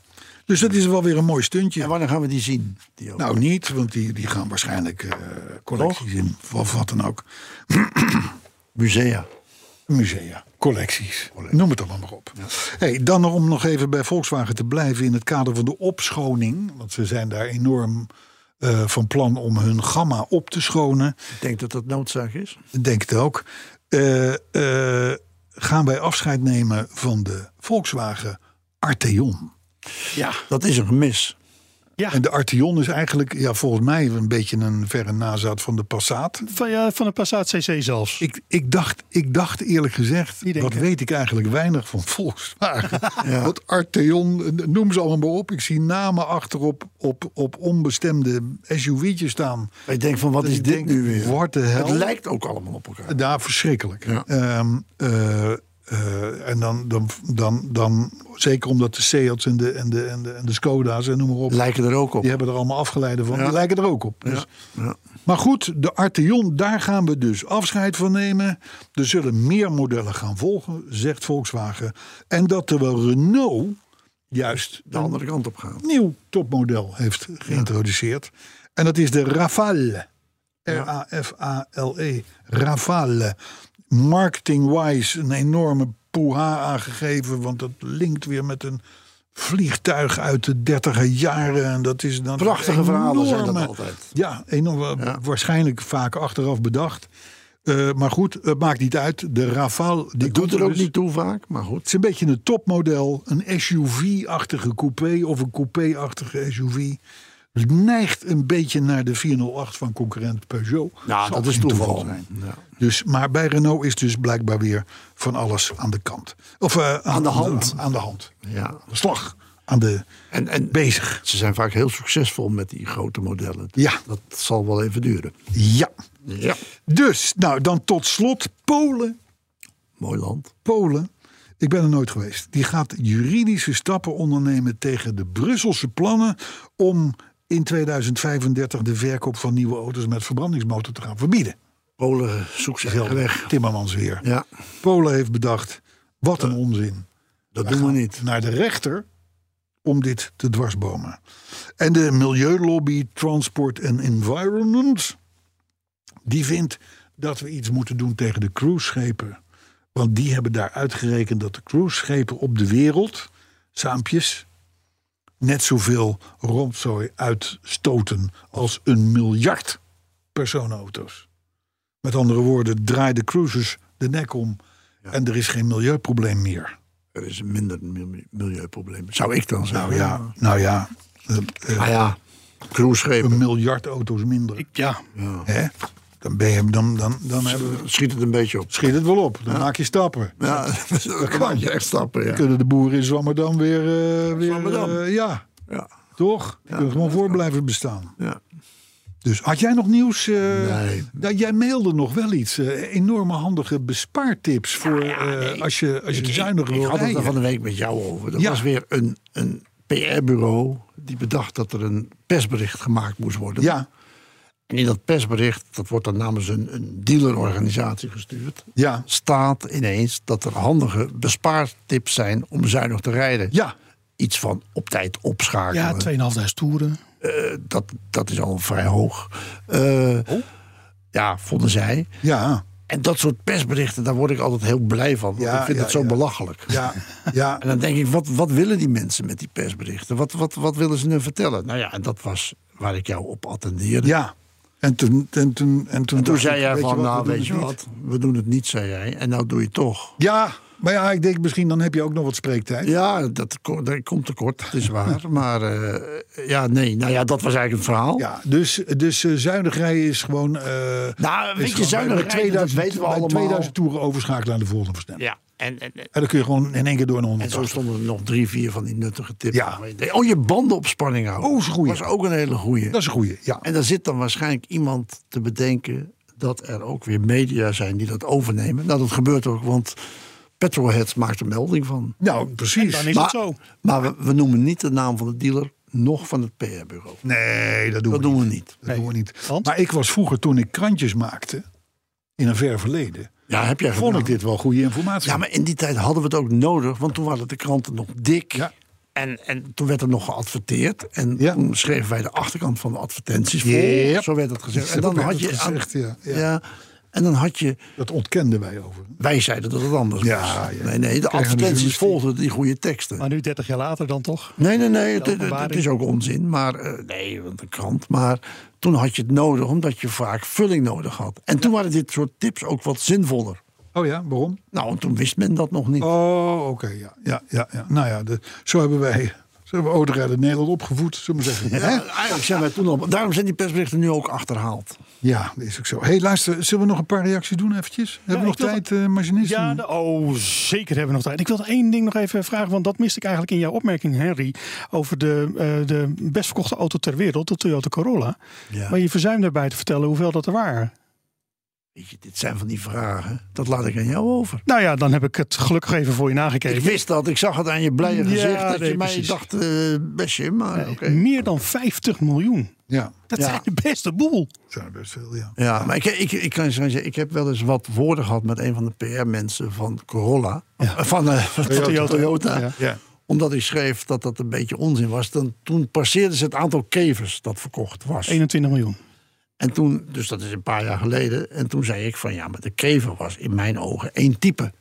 Dus dat is wel weer een mooi En stuntje. wanneer gaan we die zien? Die auto? Nou, niet, want die, die gaan waarschijnlijk eh collecties in. Of wat dan ook. musea. Musea, collecties. Noem het allemaal maar op. Hey, dan nog om nog even bij Volkswagen te blijven in het kader van de opschoning. Want ze zijn daar enorm eh, van plan om hun gamma op te schonen. Ik denk dat dat noodzaak is. Ik denk het ook. Eh, eh, gaan wij afscheid nemen van de Volkswagen Arteon. Ja. Dat is een gemis. Ja, En de Arteon is eigenlijk ja, volgens mij een beetje een verre nazaat van de Passat. van, ja, van een Passat CC zelfs. Ik, ik, dacht, ik dacht eerlijk Niet gezegd, wat denken. weet ik eigenlijk weinig van Volkswagen. Want Arteon, noem ze allemaal maar op. Ik zie namen achterop op, op onbestemde SUV'tjes staan. Ik denk van wat Dat is ik dit denk, nu weer? what the hell? Het lijkt ook allemaal op elkaar. Ja, verschrikkelijk. Ja. Ehm, eh, eh, en dan, dan, dan, dan, zeker omdat de Seats en de, en de, en de, en de Skoda's en noem maar op, Lijken er ook op. die hebben er allemaal afgeleiden van, Ja. die lijken er ook op. Dus, Ja. Maar goed, de Arteon, daar gaan we dus afscheid van nemen. Er zullen meer modellen gaan volgen, zegt Volkswagen. En dat terwijl Renault juist De andere kant op gaan. een nieuw topmodel heeft geïntroduceerd. En dat is de Rafale. R-A-F-A-L-E. E. Rafale. Marketing-wise een enorme poeha aangegeven. Want dat linkt weer met een vliegtuig uit de dertiger jaren. En dat is dan Prachtige verhalen zijn dat enorme- altijd. Ja, enorm, Ja. waarschijnlijk vaak achteraf bedacht. Eh, maar goed, het maakt niet uit. De Rafale... Die Dat doet komt er ook dus. niet toe vaak, maar goed. Het is een beetje een topmodel. Een SUV-achtige coupé of een coupé-achtige SUV. Dus Het neigt een beetje naar de 408 van concurrent Peugeot. Nou, Zal dat is geen toeval. zijn. Dus, maar bij Renault is dus blijkbaar weer van alles aan de kant. Of eh, aan, de hand. Aan, de hand. Ja. Aan de slag. Aan de, En, en bezig. Ze zijn vaak heel succesvol met die grote modellen. Dus Ja. Dat zal wel even duren. Ja. Ja. Dus, nou dan tot slot Polen. Mooi land. Polen, ik ben er nooit geweest, die gaat juridische stappen ondernemen tegen de Brusselse plannen om in 2035 de verkoop van nieuwe auto's met verbrandingsmotor te gaan verbieden. Polen zoekt zich Zelfde weg. Timmermans weer. Ja, Polen heeft bedacht, wat een onzin. dat doen we niet. Naar de rechter om dit te dwarsbomen. En de milieulobby Transport and Environment... die vindt dat we iets moeten doen tegen de cruiseschepen. Want die hebben daar uitgerekend dat de cruiseschepen op de wereld... saampjes, net zoveel rondzooi uitstoten... als een miljard personenauto's. Met andere woorden, draai de cruisers de nek om... en er is geen milieuprobleem meer. Er is een minder mil- milieuprobleem. Zou ik dan zeggen. Nou ja, nou ja. eh, eh, Nou ja, cruiseschepen. een miljard auto's minder. Ja, Hè? Dan, ben je, dan, dan, dan hebben we, Schiet het een beetje op. schiet het wel op. Dan maak je stappen. Ja, dat kan je echt stappen. Ja. Kunnen de boeren in Zwammerdam weer... eh, weer Zwammerdam. eh, ja, Ja. toch? Die kunnen gewoon voor blijven bestaan. Ja. Dus had jij nog nieuws? eh, Nee. nou, jij mailde nog wel iets. eh, enorme handige bespaartips voor eh, als je, als je zuinig Ik wil had het rijden. er van de week met jou over. Dat Ja. was weer een, een PR-bureau die bedacht dat er een persbericht gemaakt moest worden. Ja, En in dat persbericht, dat wordt dan namens een, een dealerorganisatie gestuurd, ja, staat ineens dat er handige bespaartips zijn om zuinig te rijden. ja. Iets van op tijd ja opschakelen. 2.500 toeren. Eh, dat, dat is al vrij hoog. Eh, Ja, vonden zij. Ja, En dat soort persberichten, daar word ik altijd heel blij van. Want Ja, ik vind ja, dat zo ja. belachelijk. ja, ja. En dan denk ik, wat, wat willen die mensen met die persberichten? Wat, wat, wat willen ze nu vertellen? Nou ja, en dat was waar ik jou op attendeerde. Ja. En toen, en toen, en toen, en toen dacht zei ik, jij weet je van, wat, we nou doen weet je het niet. wat, we doen het niet, zei jij. En nou doe je het toch. Ja, maar ja, ik denk misschien dan heb je ook nog wat spreektijd. Ja, dat, ko- dat komt tekort, dat is waar. Maar eh, ja, nee, nou ja, dat was eigenlijk het verhaal. Ja, dus, dus eh, zuinig rijden is gewoon... eh Nou, is weet je, gewoon zuinig bij rijden, dat weten we bij allemaal. 2000 toeren overschakelen aan de volgende versnelling. Ja, en, en, en En dan kun je gewoon in één keer door een en zo 100. stonden er nog drie, vier van die nuttige tips. Ja. waarvan je denkt, Oh, je banden op spanning houden. Oh, is een goeie. was ook een hele goeie. Dat is een goeie, ja. En daar zit dan waarschijnlijk iemand te bedenken dat er ook weer media zijn die dat overnemen. Nou, dat gebeurt ook, want Petrolhead maakt er melding van. Nou, precies. Dan is maar het zo. maar we, we noemen niet de naam van de dealer, nog van het PR-bureau. Nee, dat doen Dat we niet. doen we niet. Dat doen we niet. Want? Maar ik was vroeger, toen ik krantjes maakte, in een ver verleden, Ja, heb jij vond gedaan. ik dit wel goede informatie. Ja, maar in die tijd hadden we het ook nodig, want toen waren de kranten nog dik. Ja. En, en toen werd er nog geadverteerd. En Ja. toen schreven wij de achterkant van de advertenties vol. Yep. Zo werd dat gezegd. En Zo dan werd had dat je. gezegd, ja, ja. ja, en dan had je. Dat ontkenden wij over. Wij zeiden dat het anders Ja, was. ja. Nee, nee, de Krijgen we advertenties journalistiek. volgden die goede teksten. Maar nu 30 jaar later dan toch? Nee, nee, nee, het, het- het openbaring. is ook onzin. Maar eh, nee, want een krant. Maar toen had je het nodig, omdat je vaak vulling nodig had. En toen waren dit soort tips ook wat zinvoller. Oh ja, waarom? Nou, en toen wist men dat nog niet. Oh, oké, ja. Ja, ja, ja. Nou ja, de, zo hebben wij, zo hebben we Odera de Nederland opgevoed, zullen we maar zeggen. Hè? Ja, eigenlijk zijn wij toen al. Daarom zijn die persberichten nu ook achterhaald. Ja, dat is ook zo. Hé, hey, luister, zullen we nog een paar reacties doen eventjes? Hebben we nog ik wil- tijd, eh machinist? Ja, de- oh, zeker hebben we nog tijd. Ik wilde één ding nog even vragen, want dat miste ik eigenlijk in jouw opmerking, Henry. Over de, eh, de best verkochte auto ter wereld, de Toyota Corolla. Ja. Maar je verzuimde erbij te vertellen hoeveel dat er waren. Weet je, dit zijn van die vragen. Dat laat ik aan jou over. Nou ja, dan heb ik het gelukkig even voor je Ik nagekeken. wist dat, ik zag het aan je blije Ja, gezicht. dat nee, je mij precies. dacht, eh bestje, maar oké. Meer dan 50 miljoen. Ja, Dat Ja. zijn de beste boel. dat zijn er best veel, ja. Ja, maar ik, ik, ik kan je zo zeggen, ik heb wel eens wat woorden gehad met een van de PR-mensen van Corolla. Eh, Van, eh, van Toyota. Ja. Ja, Omdat ik schreef dat dat een beetje onzin was. Dan, toen passeerde ze het aantal kevers dat verkocht was. 21 miljoen. En toen, dus dat is een paar jaar geleden. En toen zei ik van ja, maar de kever was in mijn ogen één type.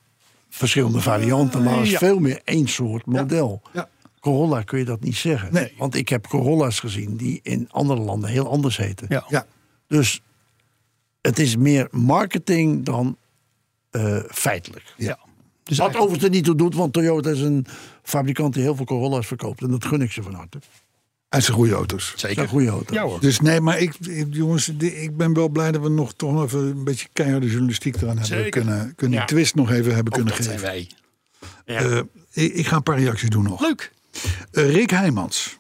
Verschillende varianten, maar was Ja. veel meer één soort model. ja. Corolla kun je dat niet zeggen. Nee. Want ik heb Corolla's gezien die in andere landen heel anders heten. Ja. ja. Dus het is meer marketing dan eh, feitelijk. Ja. Dus Wat eigenlijk- overigens er niet toe doet, want Toyota is een fabrikant die heel veel Corolla's verkoopt. En dat gun ik ze van harte. Het Hij zijn goede auto's. zijn Zeker. goede auto's. Ja hoor. Dus nee, maar ik, ik- jongens, de- ik ben wel blij dat we nog toch nog even een beetje keiharde journalistiek eraan hebben Zeker. kunnen, kunnen Ja. die twist nog even hebben kunnen dat zijn geven. wij. Eh, ik, ik ga een paar reacties doen nog. Leuk. Eh, Rick Heijmans.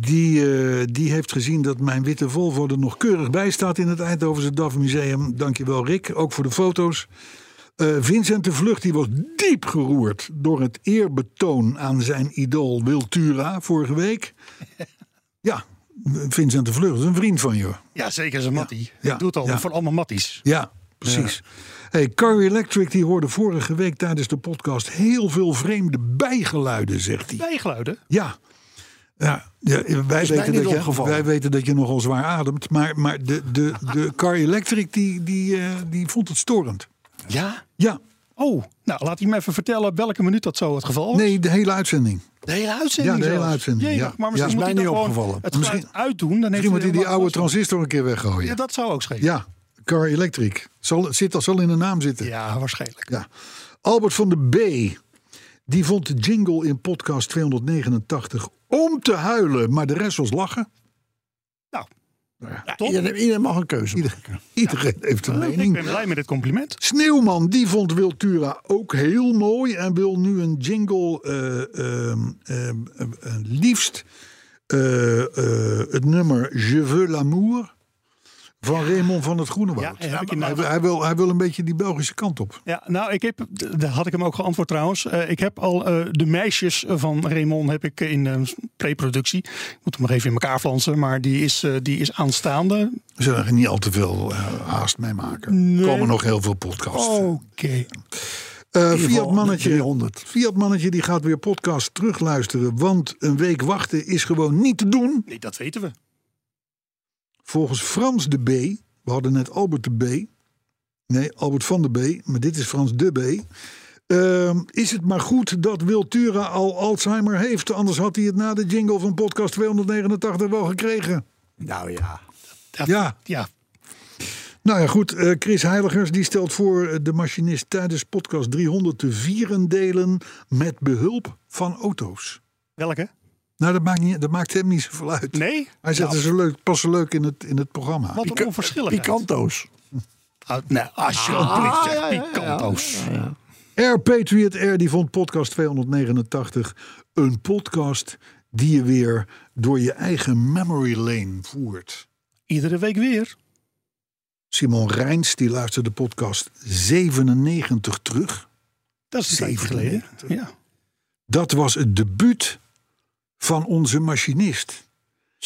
Die, eh, die heeft gezien dat mijn witte Volvo er nog keurig bij staat in het Eindhovense DAF Museum. Dankjewel Rick, ook voor de foto's. Eh, Vincent de Vlucht die was diep geroerd door het eerbetoon aan zijn idool Wiltura vorige week. Ja, Vincent de Vlucht is een vriend van je. Ja, zeker zijn Mattie. Ja. Ik doe het al Ja. voor allemaal Matties. Ja, precies. Hey, Car Electric die hoorde vorige week tijdens de podcast heel veel vreemde bijgeluiden, zegt hij. Bijgeluiden. Ja. Ja, ja, wij, mij weten niet dat je, opgevallen. wij weten dat je nogal zwaar ademt. Maar, maar de, de, de Car Electric die, die, eh, die vond het storend. Ja. Ja, Oh, nou laat hij me even vertellen welke minuut dat zo het geval was. nee, de hele uitzending. De hele uitzending. Ja, de hele zelfs. uitzending, Jemig, ja. maar Ja, is misschien moet mij hij dan niet gewoon opgevallen. het geluid Misschien- uitdoen. Dan heeft Misschien moet hij hij die helemaal oude last van- transistor een keer weggooien. Ja, dat zou ook schelen. Ja, Car Electric. Zal, zit, dat zal in de naam zitten. Ja, waarschijnlijk. Ja. Albert van de B. Die vond de jingle in podcast 289 om te huilen. Maar de rest was lachen. Nou, Top. Iedereen, iedereen mag een keuze maken. Iedereen heeft een ik mening. ben blij met dit compliment. Sneeuwman, die vond Wiltura ook heel mooi. En wil nu een jingle eh, ehm, ehm, ehm, ehm, liefst eh, eh, het nummer Je veux l'amour van Raymond van het Groenewoud. Ja, heb ik nou- hij, inderdaad. wil- hij, wil, hij wil een beetje die Belgische kant op. Ja, nou, ik heb, d- daar had ik hem ook geantwoord trouwens. Eh, ik heb al eh, de meisjes van Raymond heb ik in eh, pre-productie. Ik moet hem nog even in elkaar flansen, maar die is, eh, die is aanstaande. We zullen er niet al te veel eh, haast mee maken. Er komen nog heel veel podcasts. Oké. Eh, ieder geval Fiat mannetje, 300. Fiat mannetje die gaat weer podcast terugluisteren. Want een week wachten is gewoon niet te doen. Nee, dat weten we. Volgens Frans de B. We hadden net Albert de B. Nee, Albert van de B. Maar dit is Frans de B. Ehm, is het maar goed dat Wiltura al Alzheimer heeft? Anders had hij het na de jingle van podcast 289 wel gekregen. Nou ja. Dat- Ja. ja. Nou ja, goed. eh, Chris Heiligers die stelt voor eh, de machinist tijdens podcast 300 te vieren delen met behulp van auto's. Welke? Nou, dat maakt, niet, dat maakt hem niet zoveel uit. Nee? Hij zegt, Nou, dat is zo leuk, pas zo leuk in het, in het programma. Wat een onverschilligheid. Picanto's. Ah, nee, alsjeblieft, zeg, picanto's. Air Patriot Air die vond podcast 289 een podcast die je weer door je eigen memory lane voert. Iedere week weer. Simon Rijns die luisterde podcast 97 terug. Dat is een tijdje geleden. Ja. Dat was het debuut van onze machinist.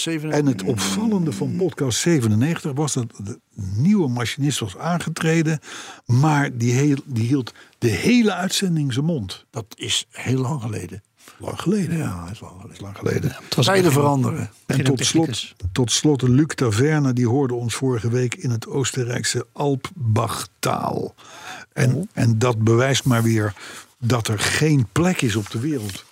En het opvallende van podcast 97 was dat de nieuwe machinist was aangetreden, maar die, heel, die hield de hele uitzending zijn mond. Dat is heel lang geleden. Lang geleden. Ja, dat is lang geleden. Lang geleden. Het was Tijden veranderen. En tot slot, tot slot, Luc Taverne, die hoorde ons vorige week in het Oostenrijkse Alpbachtaal. En, Oh. en dat bewijst maar weer dat er geen plek is op de wereld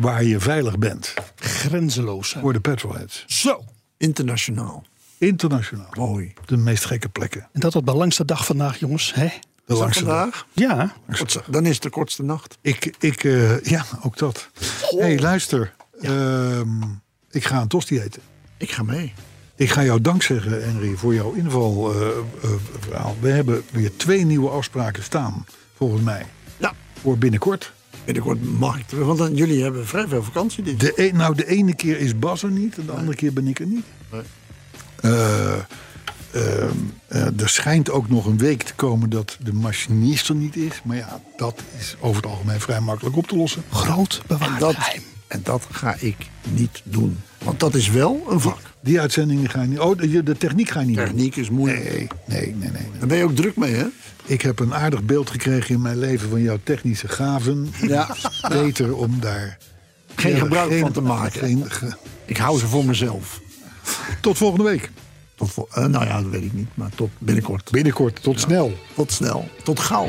waar je veilig bent grenzeloos. voor de petrolheads. Zo. Internationaal. Internationaal. Mooi. De meest gekke plekken. En dat op de langste dag vandaag, jongens. Hè? De langste dag. Vandaag? Ja. Kortste- Dan is het de kortste nacht. Ik, ik eh, ja, ook dat. Hé, hey, luister. Ehm, ik ga een tosti eten. Ik ga mee. Ik ga jou dankzeggen, Henry, voor jouw invalverhaal. We hebben weer twee nieuwe afspraken staan, volgens mij. Ja. Voor binnenkort. Binnenkort mag ik terug, want dan, jullie hebben vrij veel vakantie. Dit. De e- nou, de ene keer is Bas er niet, en de andere keer ben ik er niet. Nee. Eh, ehm, eh, er schijnt ook nog een week te komen dat de machinist er niet is. Maar ja, dat is over het algemeen vrij makkelijk op te lossen. Groot en, bewaard dat, geheim. en dat ga ik niet doen. Want dat is wel een vak. Die uitzendingen ga je niet... Oh, de, de techniek ga je niet doen. Techniek is moeilijk. Nee, nee, nee, nee. nee. Daar ben je ook druk mee, hè? Ik heb een aardig beeld gekregen in mijn leven van jouw technische gaven. Ja. Beter om daar Geen Ja, gebruik geen- van te maken. geen ge- Ik hou ze voor mezelf. Tot volgende week. Tot vol- eh, nou ja, dat weet ik niet, maar tot binnenkort. Binnenkort, tot snel. Tot snel. Tot gauw.